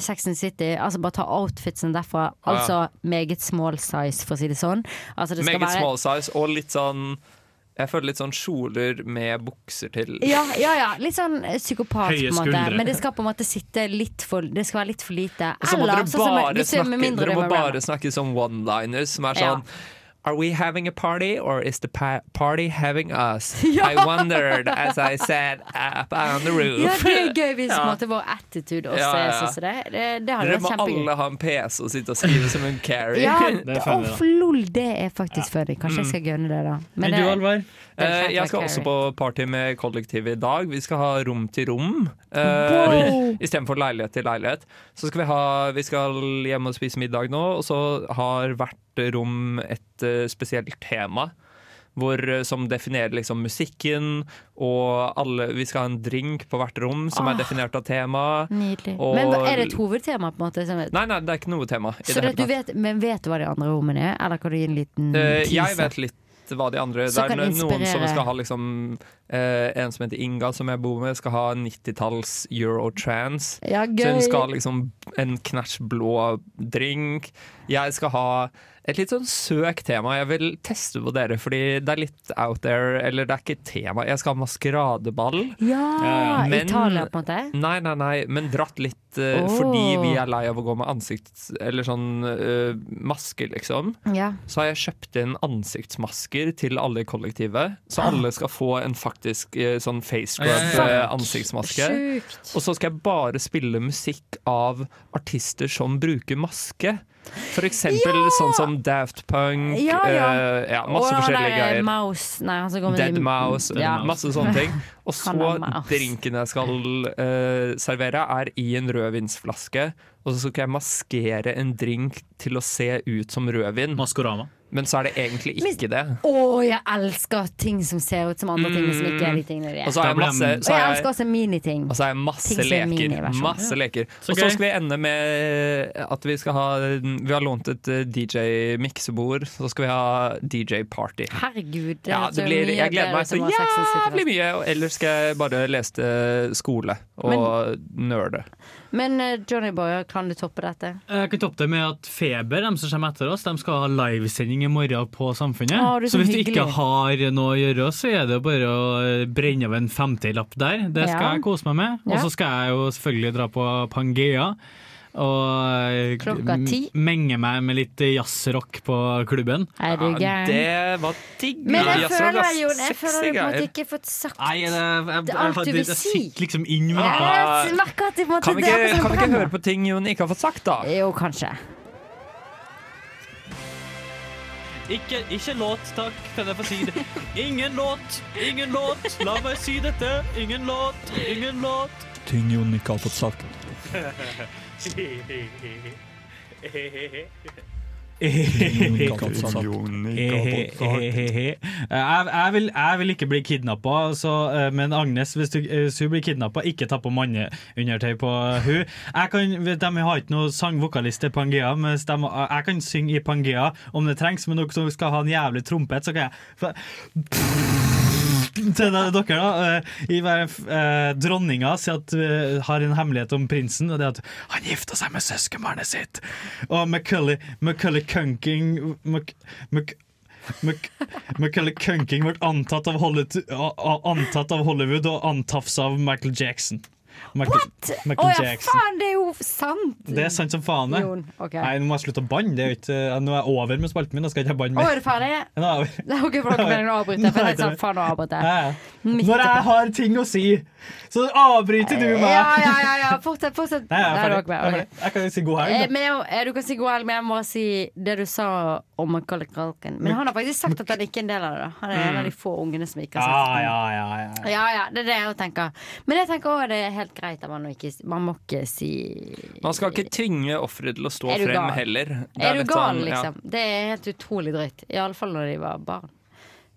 Sex and the City. Altså Bare ta outfitsen derfra.
Ja.
Altså meget small size, for å si det sånn. Altså, det skal
Meget
være-
small size og litt sånn Jeg føler litt sånn kjoler med bukser til.
Ja, ja, ja. Litt sånn psykopat,
Høye
på en måte.
skuldre.
Men det skal på en måte sitte litt for Det skal være litt for lite.
Og så må dere
sånn som-
bare
hvis du er med
snakke
mindre
Dere må
Rema Rama.
bare snakke som one-liners, som er
Ja.
sånn Are we having a party, or is the pa party having us?
*laughs* Ja.
I wondered as I sat up on the roof.
Ja, det er gøy hvis på en
Ja.
måte vår attitude også
Ja, ja,
er
ja.
sånn som det. Det, det hadde
Dere må
vært kjempegøy.
alle ha en PC og sitte og skrive som en carry.
Ja, off, lol, det er faktisk funny. Kanskje jeg
Mm.
skal gønne det, da. Men
Enn du,
det-
Alvar?
det er
Eh, jeg
fett
skal
vært
også
carry.
på party med kollektivet i dag. Vi skal ha rom til rom.
Wow!
*laughs* Uh, Istedenfor leilighet til leilighet. Så skal vi, ha, vi skal hjem og spise middag nå, og så har hvert rom et eh, spesielt tema. Hvor, eh, som definerer liksom musikken, og alle, vi skal ha en drink på hvert rom som
Ah. Mm.
er definert av tema.
Nydelig.
Og-
Men hva- er det et hovedtema, på en måte? Som,
Nei, nei, det er ikke noe tema. i
så
hele
det, du
tatt.
vet, men vet du hva de andre rommene er? Eller kan du gi en liten
Eh, jeg
teaser?
vet litt hva de andre
Så
Det
Mm,
er
kan
noen
inspirere.
som skal ha liksom eh, En som heter Inga, som jeg bor med, skal ha 90-talls eurotrans.
Ja, gøy.
så hun skal ha liksom en knæsj blå drink. Jeg skal ha et litt sånn søk tema. Jeg vil teste på dere, fordi det er litt out there. Eller det er ikke et tema. Jeg skal ha maskeradeball.
Ja,
Men-
Italia, på en måte?
Nei, nei, nei, men dratt litt eh,
Åh.
fordi vi er lei av å gå med ansikts... Eller sånn eh, maske, liksom.
Ja.
Så har jeg kjøpt inn ansiktsmasker til alle i kollektivet. Så alle skal få en faktisk eh, sånn face
Ja, ja, ja. Fuck,
scrub-ansiktsmaske.
sjukt.
Og så skal jeg bare spille musikk av artister som bruker maske. For eksempel sånn som Daft Punk,
Ja, ja.
eh, ja, masse
Og han
forskjellige
der, eh,
greier.
Mouse. Nei, han som går med
Dead
de-
Mouse, eh,
Ja.
masse sånne ting. Og så
Han er mouse.
drinken jeg skal eh, servere, er i en rødvinsflaske. Og så skal jeg maskere en drink til å se ut som rødvin.
Maskorama.
Men så er det egentlig ikke det.
Å, jeg elsker ting som ser ut som andre ting, som ikke er de tingene de er.
Mm. Og så har jeg masse-
Og
så har
jeg
jeg-
elsker også miniting.
Og så er det masse
Ting som er
leker.
miniversjon.
Masse leker.
Så
og så
gøy.
skal vi ende med eh, at vi skal ha Vi har lånt et eh, DJ-miksebord, så skal vi ha DJ-party.
Herregud. det
Ja,
høres
det
jo
blir,
mye
jeg
bedre
gleder meg
ut
så
enn å ha sex and city.
jævlig mye. Og ellers skal jeg bare lese til skole og nerde.
Men eh, Johnny Boyer, kan du toppe dette?
Eh, Jeg kan toppe det med at Feber, de som kommer etter oss, de skal ha livesending i morgen på Samfunnet.
Å, du er
så
så
hvis du
hyggelig.
ikke har noe å gjøre, så er det bare å brenne av en 50-lapp der. Det skal
Ja.
jeg kose meg med. Og
Ja.
så skal jeg jo selvfølgelig dra på Pangea. Og eh,
Klokka ti.
m- menge meg med litt jazzrock på klubben.
Er du gæren?
det var digg.
Men jeg
Ja, så
føler
det er
jo Jeg føler du på en måte
sexy
ikke fått sagt
Nei, det, jeg, jeg,
Det er alt
jeg,
du
jeg,
vil
jeg
si.
sitter liksom inn med
Ja, jeg merker at det på Eh, en måte
Kan vi
det er akkurat
ikke,
som
kan vi ikke
brenner.
høre på ting Jon ikke har fått sagt, da?
Jo, kanskje.
Ikke, ikke låt, takk, kan jeg få si det. Ingen låt, ingen låt, la meg si dette. Ingen låt, ingen låt.
Ting Jon ikke har fått sagt.
Eh,
Jeg, jeg, vil, jeg vil ikke bli kidnappa, så, eh, men Agnes, hvis, du, eh, hvis hun blir kidnappa, ikke ta på manneundertøy på hun. Jeg kan, De har ikke noen sangvokalister i Pangea, men hvis de, jeg kan synge i Pangea om det trengs, men dere som skal ha en jævlig trompet, så kan jeg for, til dere, da. eh, I hver, eh, dronninga sier at, eh, har en hemmelighet om prinsen, og det er at han gifta seg med søskenbarnet sitt. Og Macaulay Macaulay Cunking Mac, Mac, Mac, Macaulay Cunking ble antatt av, Hollywood, antatt av Hollywood og antafsa av Michael Jackson. Michael,
What?! Å
Michael
ja,
Jackson.
faen, det er jo sant!
Det er sant som faen, det.
Jon, ok.
Nei, nå må jeg slutte å banne. Det er jo ikke, nå er jeg over med spalten min. Da skal jeg ikke
Å,
banne
er
mer.
du ferdig?
Nå er jeg over.
Det er ok for dere mener å avbryte, for jeg sa faen å avbryte.
Ja, ja. Når jeg har ting å si, så avbryter du meg.
Ja, ja, ja, ja. fortsett, fortsett.
*laughs* Nei, jeg er
Der er
ferdig.
dere med, ok.
Jeg er ferdig. Jeg kan si god helg.
Eh,
da.
Men jeg, må- eh, du kan si god helg, men jeg må si det du sa om Macaulay Culkin. Men han har faktisk sagt at han ikke er en del av det. da. Han er en av de få ungene som ikke har sagt
Mm.
det.
Ja, ja, ja, ja.
Ja, ja, det er det jeg også tenker. Men jeg tenker òg det er helt greit at man, ikke, man må ikke si
Man skal ikke tvinge offeret til å stå
Er du
frem
gal?
heller. Det
Er du
litt
gal,
sånn, ja.
liksom? Det er helt utrolig drøyt. Iallfall når de var barn.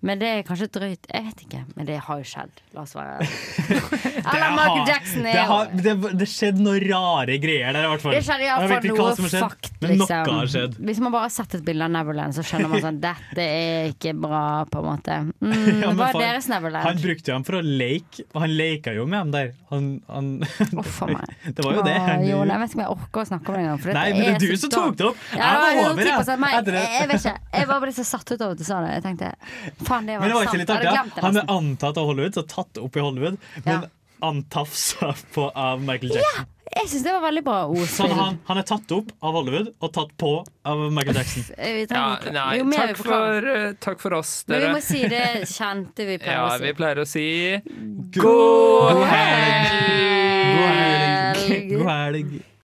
Men det er kanskje drøyt. Jeg vet ikke, men det har jo skjedd. La oss
*laughs*
være Eller Michael Jackson er
det,
jo
har, det, det skjedde noen rare greier der, i hvert fall.
Det skjedde
Jeg vet
iallfall
ikke hva som
noe
har skjedd,
fucked,
Men
liksom.
noe har skjedd.
Hvis man bare har sett et bilde av Neverland, så skjønner man sånn Dette er ikke bra, på en måte. Mm,
*laughs* Ja, men
hva er
faen,
deres
Han
Neverland?
brukte jo dem for å leke. Han leka jo med dem der. Han, han, *laughs* det var jo det.
Å, Jon, jeg vet ikke om jeg orker å snakke om det engang. for dette
Nei, men det
er
er du
så
som
dumt.
tok det opp.
Ja,
Jeg var
det var
over,
10%
jeg.
meg.
Etter det.
Jeg, jeg vet ikke. Jeg var bare så satt ut av at du sa det. Jeg tenkte faen, det var,
Men det var ikke
sant.
litt
Jeg
artig.
hadde
ja.
glemt det
Han er
nesten.
antatt av Hollywood, så tatt opp i Hollywood, men antafsa på av Michael Jackson.
Jeg syns det var veldig bra
Sånn,
ordspill.
han, han er tatt opp av Hollywood og tatt på av Michael Jackson.
Eh, Vi
Ja,
trenger ikke
nei,
Jo mer
takk
vi forklarer.
for, eh, takk for oss,
Men vi
dere.
må si det kjente vi pleier
Ja,
å
vi
si.
pleier å si
God helg!
God helg.